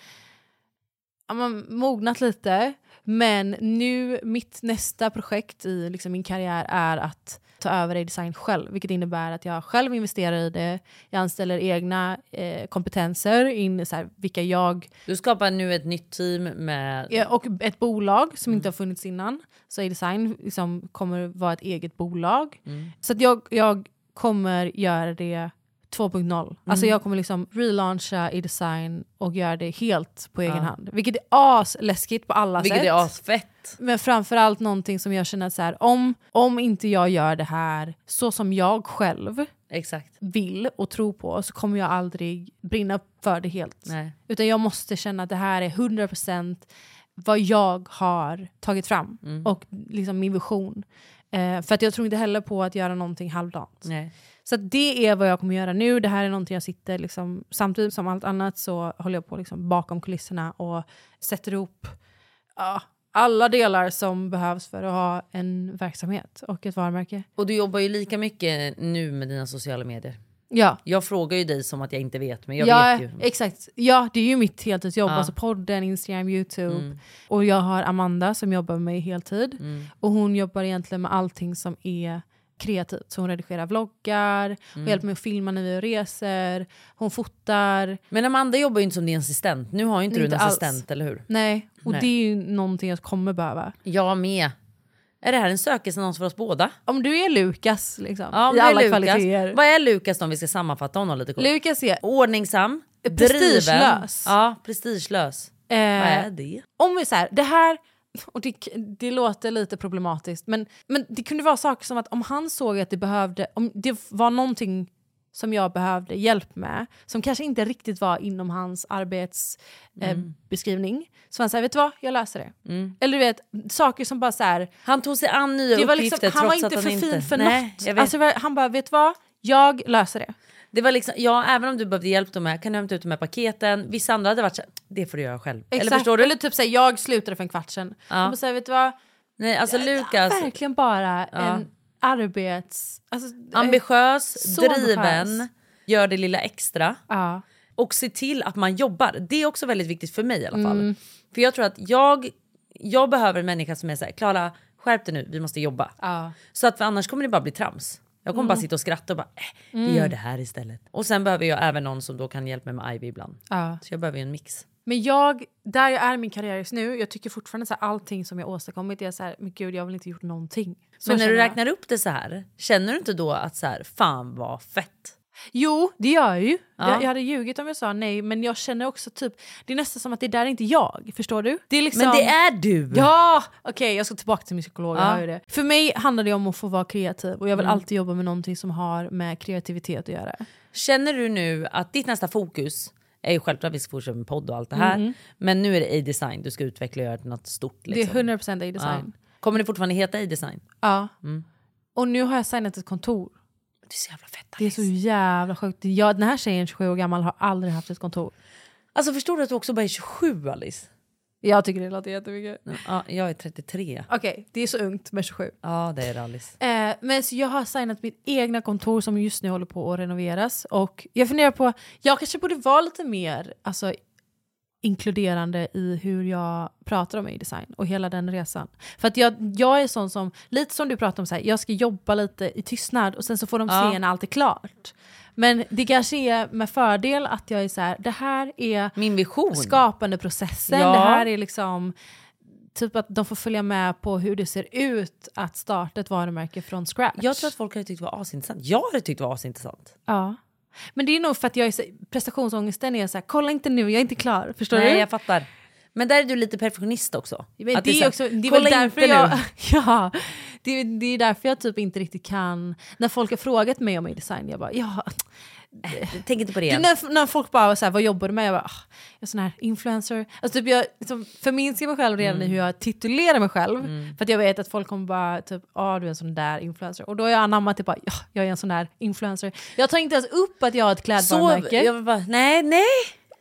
ja, man mognat lite. Men nu, mitt nästa projekt i liksom min karriär är att ta över i design själv. Vilket innebär att jag själv investerar i det. Jag anställer egna eh, kompetenser, in, så här, vilka jag...
Du skapar nu ett nytt team med...
Ja, och ett bolag som
Mm.
inte har funnits innan. Så e-design liksom kommer vara ett eget bolag.
Mm.
Så att jag, jag kommer göra det 2.0. Alltså
Mm.
jag kommer liksom relauncha e-design och göra det helt på egen
Ja.
hand. Vilket är asläskigt på alla
Vilket
sätt.
är asfett.
Men framförallt någonting som jag känner att så här, om, om inte jag gör det här så som jag själv
Exakt.
vill och tror på så kommer jag aldrig brinna för det helt.
Nej.
Utan jag måste känna att det här är 100% vad jag har tagit fram
Mm.
och liksom min vision. Eh, för att jag tror inte heller på att göra någonting halvdant.
Nej.
Så att det är vad jag kommer göra nu. Det här är någonting jag sitter liksom, samtidigt som allt annat så håller jag på liksom bakom kulisserna och sätter ihop ja, alla delar som behövs för att ha en verksamhet och ett varumärke.
Och du jobbar ju lika mycket nu med dina sociala medier.
Ja.
Jag frågar ju dig som att jag inte vet, men jag
ja,
vet ju.
Exakt. Ja, det är ju mitt heltidsjobb.
Ja.
Alltså podden, Instagram, Youtube.
Mm.
Och jag har Amanda som jobbar med mig heltid.
Mm.
Och hon jobbar egentligen med allting som är kreativt. Så hon redigerar vloggar, hon
Mm.
hjälper mig att filma när vi reser, hon fotar.
Men Amanda jobbar ju inte som din assistent. Nu har ju inte, du en
Inte alls.
assistent, eller hur?
Nej, och
Nej.
det är ju någonting jag kommer behöva.
Jag med. Är det här en sökesannons för oss båda?
Om du är Lukas liksom,
Ja, om
i
det är
alla
Lukas.
kvaliteter.
Vad är Lukas om vi ska sammanfatta honom lite kort?
Lukas är eh,
ordningsam, driven.
prestigelös.
Ja, prestigelös.
Eh,
Vad är det?
Om vi så här, det här, och det, det låter lite problematiskt, men, men det kunde vara saker som att om han såg att det behövde, om det var någonting som jag behövde hjälp med, som kanske inte riktigt var inom hans
Mm.
arbetsbeskrivning, så var han såhär, vet du vad, jag löser det.
Mm.
Eller du vet, saker som bara så här.
Han tog sig an nya
det var liksom-
uppgifter
Han var
trots
inte
att
för
han
fin
inte-
för
Nej, jag vet.
något. Alltså, han bara, vet du vad, jag löser det.
Det var liksom, ja, även om du behövde hjälp då med, kan du hämta ut de här paketen? Vissa andra hade varit så här, det får du göra själv.
Exakt.
Eller förstår du?
Eller typ såhär, jag slutade för en kvart sedan.
Ja.
Han bara såhär, vet du vad,
Nej, alltså Lukas,
verkligen bara
Ja.
en arbets... Alltså,
ambitiös,
Så
driven,
ambitiös.
gör det lilla extra.
Ja.
Och se till att man jobbar. Det är också väldigt viktigt för mig i alla fall.
Mm.
För jag tror att jag, jag behöver en människa som är så här, Klara skärp dig nu, vi måste jobba.
Ja.
Så att för annars kommer det bara bli trams. Jag kommer
Mm.
bara sitta och skratta och bara, eh,
Mm.
vi gör det här istället. Och sen behöver jag även någon som då kan hjälpa mig med Ivy ibland.
Ja.
Så jag behöver ju en mix.
Men jag, där jag är i min karriär just nu, jag tycker fortfarande så här, allting som jag åstadkommit, jag är så här, men gud jag har väl inte gjort någonting. Så
Men när du
känner jag.
räknar upp det så här, känner du inte då att så här, fan vad fett?
Jo, det gör jag ju.
Ja.
Jag, jag hade ljugit om jag sa nej, men jag känner också typ, det är nästan som att det där är inte jag, förstår du? Det är liksom,
Men det är du!
Ja! Okej, jag ska tillbaka till min psykolog.
Ja.
Jag hör ju det. För mig handlar det om att få vara kreativ och jag vill
Mm.
alltid jobba med någonting som har med kreativitet att göra.
Känner du nu att ditt nästa fokus är ju självklart att vi ska fortsätta med podd och allt det här.
Mm.
Men nu är det A-design du ska utveckla och göra till något stort. Liksom.
Det är 100% A-design.
Ja. Kommer det fortfarande heta A-design?
Ja.
Mm.
Och nu har jag signat ett kontor.
Det är så jävla fett.
Det är så jävla sjukt. Jag, den här tjejen, 27 år gammal, har aldrig haft ett kontor.
Alltså förstår du att du också bara är 27 Alice?
Jag tycker det låter jättemycket.
Ja, jag är 33.
Okej, det är så ungt med 27.
Ja det är det Alice.
Eh, men så jag har signat mitt egna kontor som just nu håller på att renoveras. Och jag funderar på, jag kanske borde vara lite mer alltså, inkluderande i hur jag pratar om e-design och hela den resan. För att jag, jag är sån som, lite som du pratade om, så här, jag ska jobba lite i tystnad och sen så får de
Ja.
se när allt är klart. Men det kanske är med fördel att jag är så här, det här är
Min vision.
skapandeprocessen,
Ja.
det här är liksom Typ att de får följa med på hur det ser ut att starta ett varumärke från scratch.
Jag tror att folk hade tyckt det var asintressant. Jag hade tyckt det var asintressant.
Ja. Men det är nog för att jag är så, prestationsångesten är så här, kolla inte nu, jag är inte klar. Förstår
Nej
du?
jag fattar. Men där är du lite perfektionist också.
Men
Att
det,
så
är
här,
också, det är väl
"Kolla
därför
inte
jag,
nu."
ja, det, är- det är därför jag typ inte riktigt kan, när folk har frågat mig om min design, jag bara ja.
Tänk inte på det
Du,
igen.
Typ när, när folk bara så här, vad jobbar du med? Jag bara, "Ah, jag är sån här influencer. Alltså typ jag liksom förminskar mig själv redan i hur jag titulerar mig själv. För att jag vet att folk kommer bara typ, ah du är en sån där influencer. Och då har jag anammat det bara, ja jag är en sån där influencer. Jag tar inte ens upp att jag har ett
Så,
klädvarumärke.
jag bara, nej nej.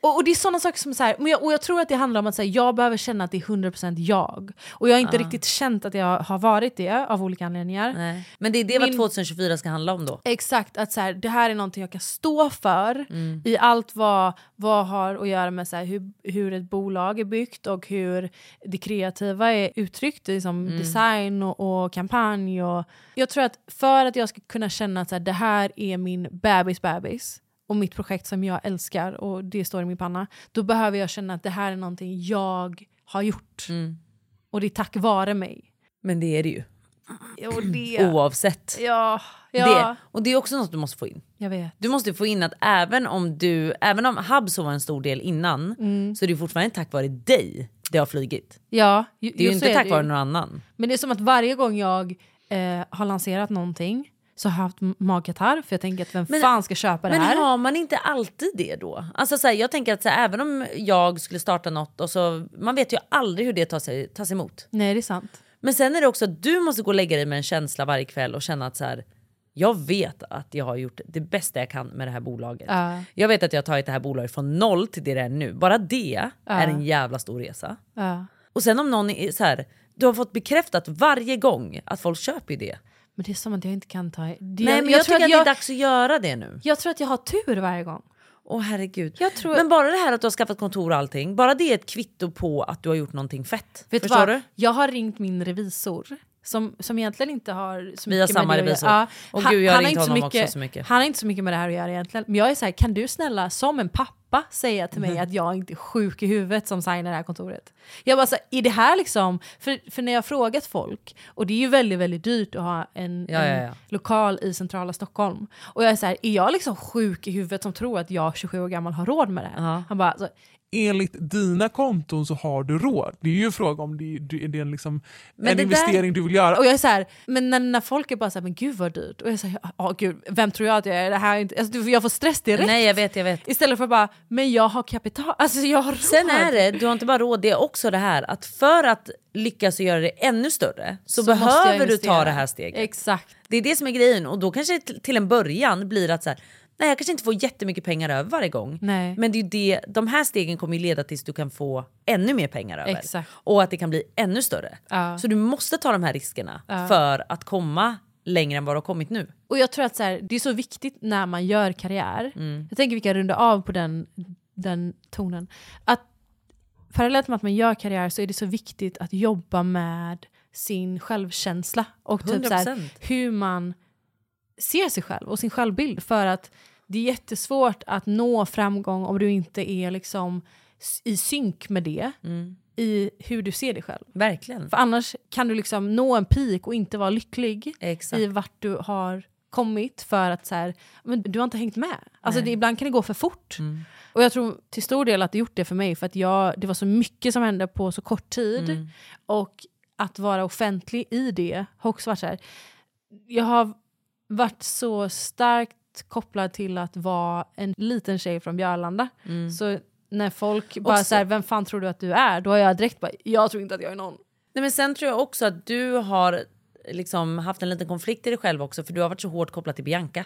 Och, och det är sådana saker som så här, men jag, och jag tror att det handlar om att så här, jag behöver känna att det är 100% jag. Och jag har inte
Ah.
riktigt känt att jag har varit det av olika anledningar.
Men det är det vad
Min-
2024 ska handla om då.
Exakt, att så här, det här är någonting jag kan stå för
Mm.
i allt vad, vad har att göra med så här, hur, hur ett bolag är byggt och hur det kreativa är uttryckt i som
Mm.
design och, och kampanj. Och, jag tror att för att jag ska kunna känna att så här, det här är min bebis bebis och mitt projekt som jag älskar och det står i min panna, då behöver jag känna att det här är någonting jag har gjort.
Mm.
Och det är tack vare mig.
Men det är det ju.
Och det,
Oavsett.
Ja, ja.
Det. Och det är också något du måste få in.
Jag vet.
Du måste få in att även om du, även om Hubso var en stor del innan
Mm.
så är det ju fortfarande tack vare dig det har flugit.
Ja, ju-
det är ju
just så
inte
är
tack
det
vare någon annan.
Men det är som att varje gång jag eh, har lanserat någonting så har jag haft magkatarr för jag tänker att vem
Men-
fan ska köpa det
men
här?
har man inte alltid det då? Alltså så här, jag tänker att så här, även om jag skulle starta något och så, man vet ju aldrig hur det tas, tas emot.
Nej det är sant.
Men sen är det också att du måste gå och lägga dig med en känsla varje kväll och känna att så här, jag vet att jag har gjort det bästa jag kan med det här bolaget.
Ja.
Jag vet att jag har tagit det här bolaget från noll till det det är nu. Bara det är en jävla stor resa.
Ja.
Och sen om någon är så här, du har fått bekräftat varje gång att folk köper ju det.
Men det är som att jag inte kan ta... Det,
Nej men jag, tycker att det är dags att göra det nu.
Jag tror att jag har tur varje gång.
Åh herregud.
Jag tror...
Men bara det här att du har skaffat kontor och allting, bara det är ett kvitto på att du har gjort någonting fett.
Vet du
Förstår
vad?
du?
Jag har ringt min revisor. Som, som egentligen inte har så
Vi har
mycket
samma
med det att
revisor.
göra.
Och
han-
gud, jag har
han har
ringt
inte
honom också så mycket.
Han har inte så mycket med det här att göra egentligen. Men jag är så här, kan du snälla som en pappa säga till mig
Mm-hmm.
att jag inte är sjuk i huvudet som signar det här kontoret? Jag bara så här, är det här liksom, för, för när jag har frågat folk, och det är ju väldigt väldigt dyrt att ha en,
Ja,
en
ja, ja.
lokal i centrala Stockholm. Och jag är så här, är jag liksom sjuk i huvudet som tror att jag 27 år gammal har råd med det här? Han bara, så,
Enligt dina konton så har du råd. Det är ju en fråga om det, det, är det en, liksom,
Men
en
det där-
investering du vill göra.
Och jag är så här, men när, när folk är bara så här, men gud vad dyrt. Och jag säger, ja gud, vem tror jag att jag är? Det här är inte, alltså, du- jag får stress direkt.
Nej jag vet, jag vet.
Istället för att bara, men jag har kapital, alltså jag har råd.
Sen är det, du har inte bara råd, det är också det här att för att lyckas och göra det ännu större så,
Så måste jag
behöver du ta
investera.
det här steget.
Exakt.
Det är det som är grejen och då kanske t- till en början blir att så här, nej jag kanske inte får jättemycket pengar över varje gång.
Nej.
Men det är ju det, de här stegen kommer ju leda tills du kan få ännu mer pengar över.
Exakt.
Och att det kan bli ännu större.
Ja.
Så du måste ta de här riskerna
Ja.
för att komma längre än vad du har kommit nu.
Och jag tror att så här, det är så viktigt när man gör karriär.
Mm.
Jag tänker vi kan runda av på den, den tonen. Att parallellt med att man gör karriär så är det så viktigt att jobba med sin självkänsla. Och typ så här,
100%.
hur man ser sig själv och sin självbild. För att det är jättesvårt att nå framgång om du inte är liksom s- i synk med det. I hur du ser dig själv.
Verkligen.
För annars kan du liksom nå en peak och inte vara lycklig i vart du har kommit för att så här, men du har inte hängt med. Alltså
Nej. Mm.
det, ibland kan det gå för fort. Och jag tror till stor del att det gjort det för mig för att jag, det var så mycket som hände på så kort tid.
Mm.
Och att vara offentlig i det har också varit så här. Jag har varit så starkt kopplad till att vara en liten tjej från Björlanda.
Mm.
Så när folk bara
så-
så här, vem fan tror du att du är? Då har jag direkt bara, jag tror inte att jag är någon.
Nej, men sen tror jag också att du har liksom haft en liten konflikt i dig själv också för du har varit så hårt kopplad till Bianca.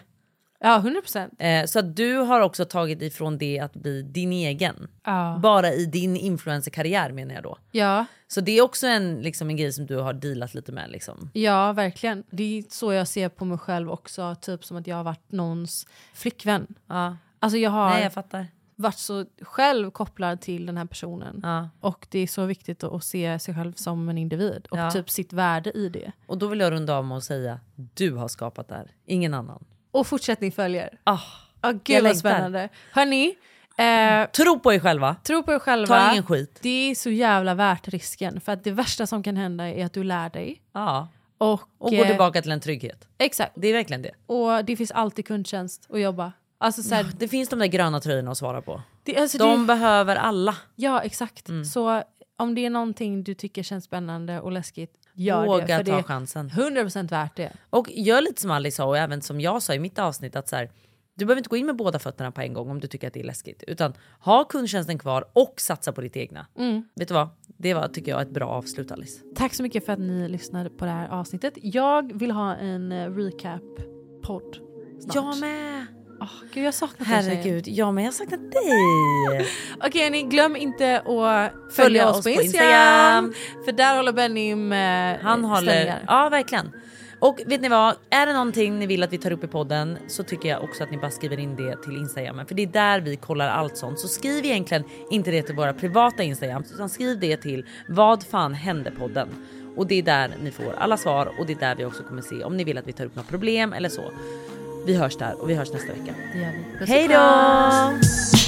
Ja, 100 procent.
Eh, så att du har också tagit ifrån det att bli din egen.
Ja.
Bara i din influencerkarriär menar jag då.
Ja.
Så det är också en, liksom, en grej som du har dealat lite med. Liksom.
Ja, verkligen. Det är så jag ser på mig själv också, typ som att jag har varit någons flickvän.
Ja.
Alltså jag har
Nej jag fattar.
varit så själv kopplad till den här personen.
Ja.
Och det är så viktigt att, att se sig själv som en individ och
Ja.
typ sitt värde i det.
Och då vill jag runda av med att säga du har skapat det här, ingen annan.
Och fortsättning följer.
Ah,
Oh,
jag
gud vad
längtar.
spännande. Hörni, eh,
Tro på er själva.
tro på er själva.
Ta ingen skit.
Det är så jävla värt risken. För att det värsta som kan hända är att du lär dig.
Ja.
Och,
Ah. Och gå
eh,
tillbaka till en trygghet.
Exakt.
Det är verkligen det.
Och det finns alltid kundtjänst att jobba. Alltså, så här,
Det finns de där gröna tröjorna att svara på.
Det- alltså,
de
det-
behöver alla.
Ja, exakt.
Mm.
Så om det är någonting du tycker känns spännande och läskigt, gör
Våga
det. För
ta
det är
chansen.
100% värt det.
Och gör lite som Alice sa och även som jag sa i mitt avsnitt att så här, du behöver inte gå in med båda fötterna på en gång om du tycker att det är läskigt. Utan ha kundtjänsten kvar och satsa på ditt egna.
Mm.
Vet du vad? Det var tycker jag ett bra avslut Alice.
Tack så mycket för att ni lyssnade på det här avsnittet. Jag vill ha en eh, recap-podd snart.
Jag med!
Gud, jag saknar dig, tjejer.
Herregud, ja men jag saknar dig.
Okej ni glöm inte att
Följa
följa
oss
oss på
på
Instagram.
Instagram.
För där håller Benim eh,
Han håller,
ställningar.
ja verkligen. Och vet ni vad, är det någonting ni vill att vi tar upp i podden så tycker jag också att ni bara skriver in det till Instagram. För det är där vi kollar allt sånt. Så skriv egentligen inte det till våra privata Instagram utan skriv det till vad fan hände podden. Och det är där ni får alla svar och det är där vi också kommer se om ni vill att vi tar upp något problem eller så. Vi hörs där och vi hörs nästa vecka.
Det gör vi. Puss och
Hej då!
kram.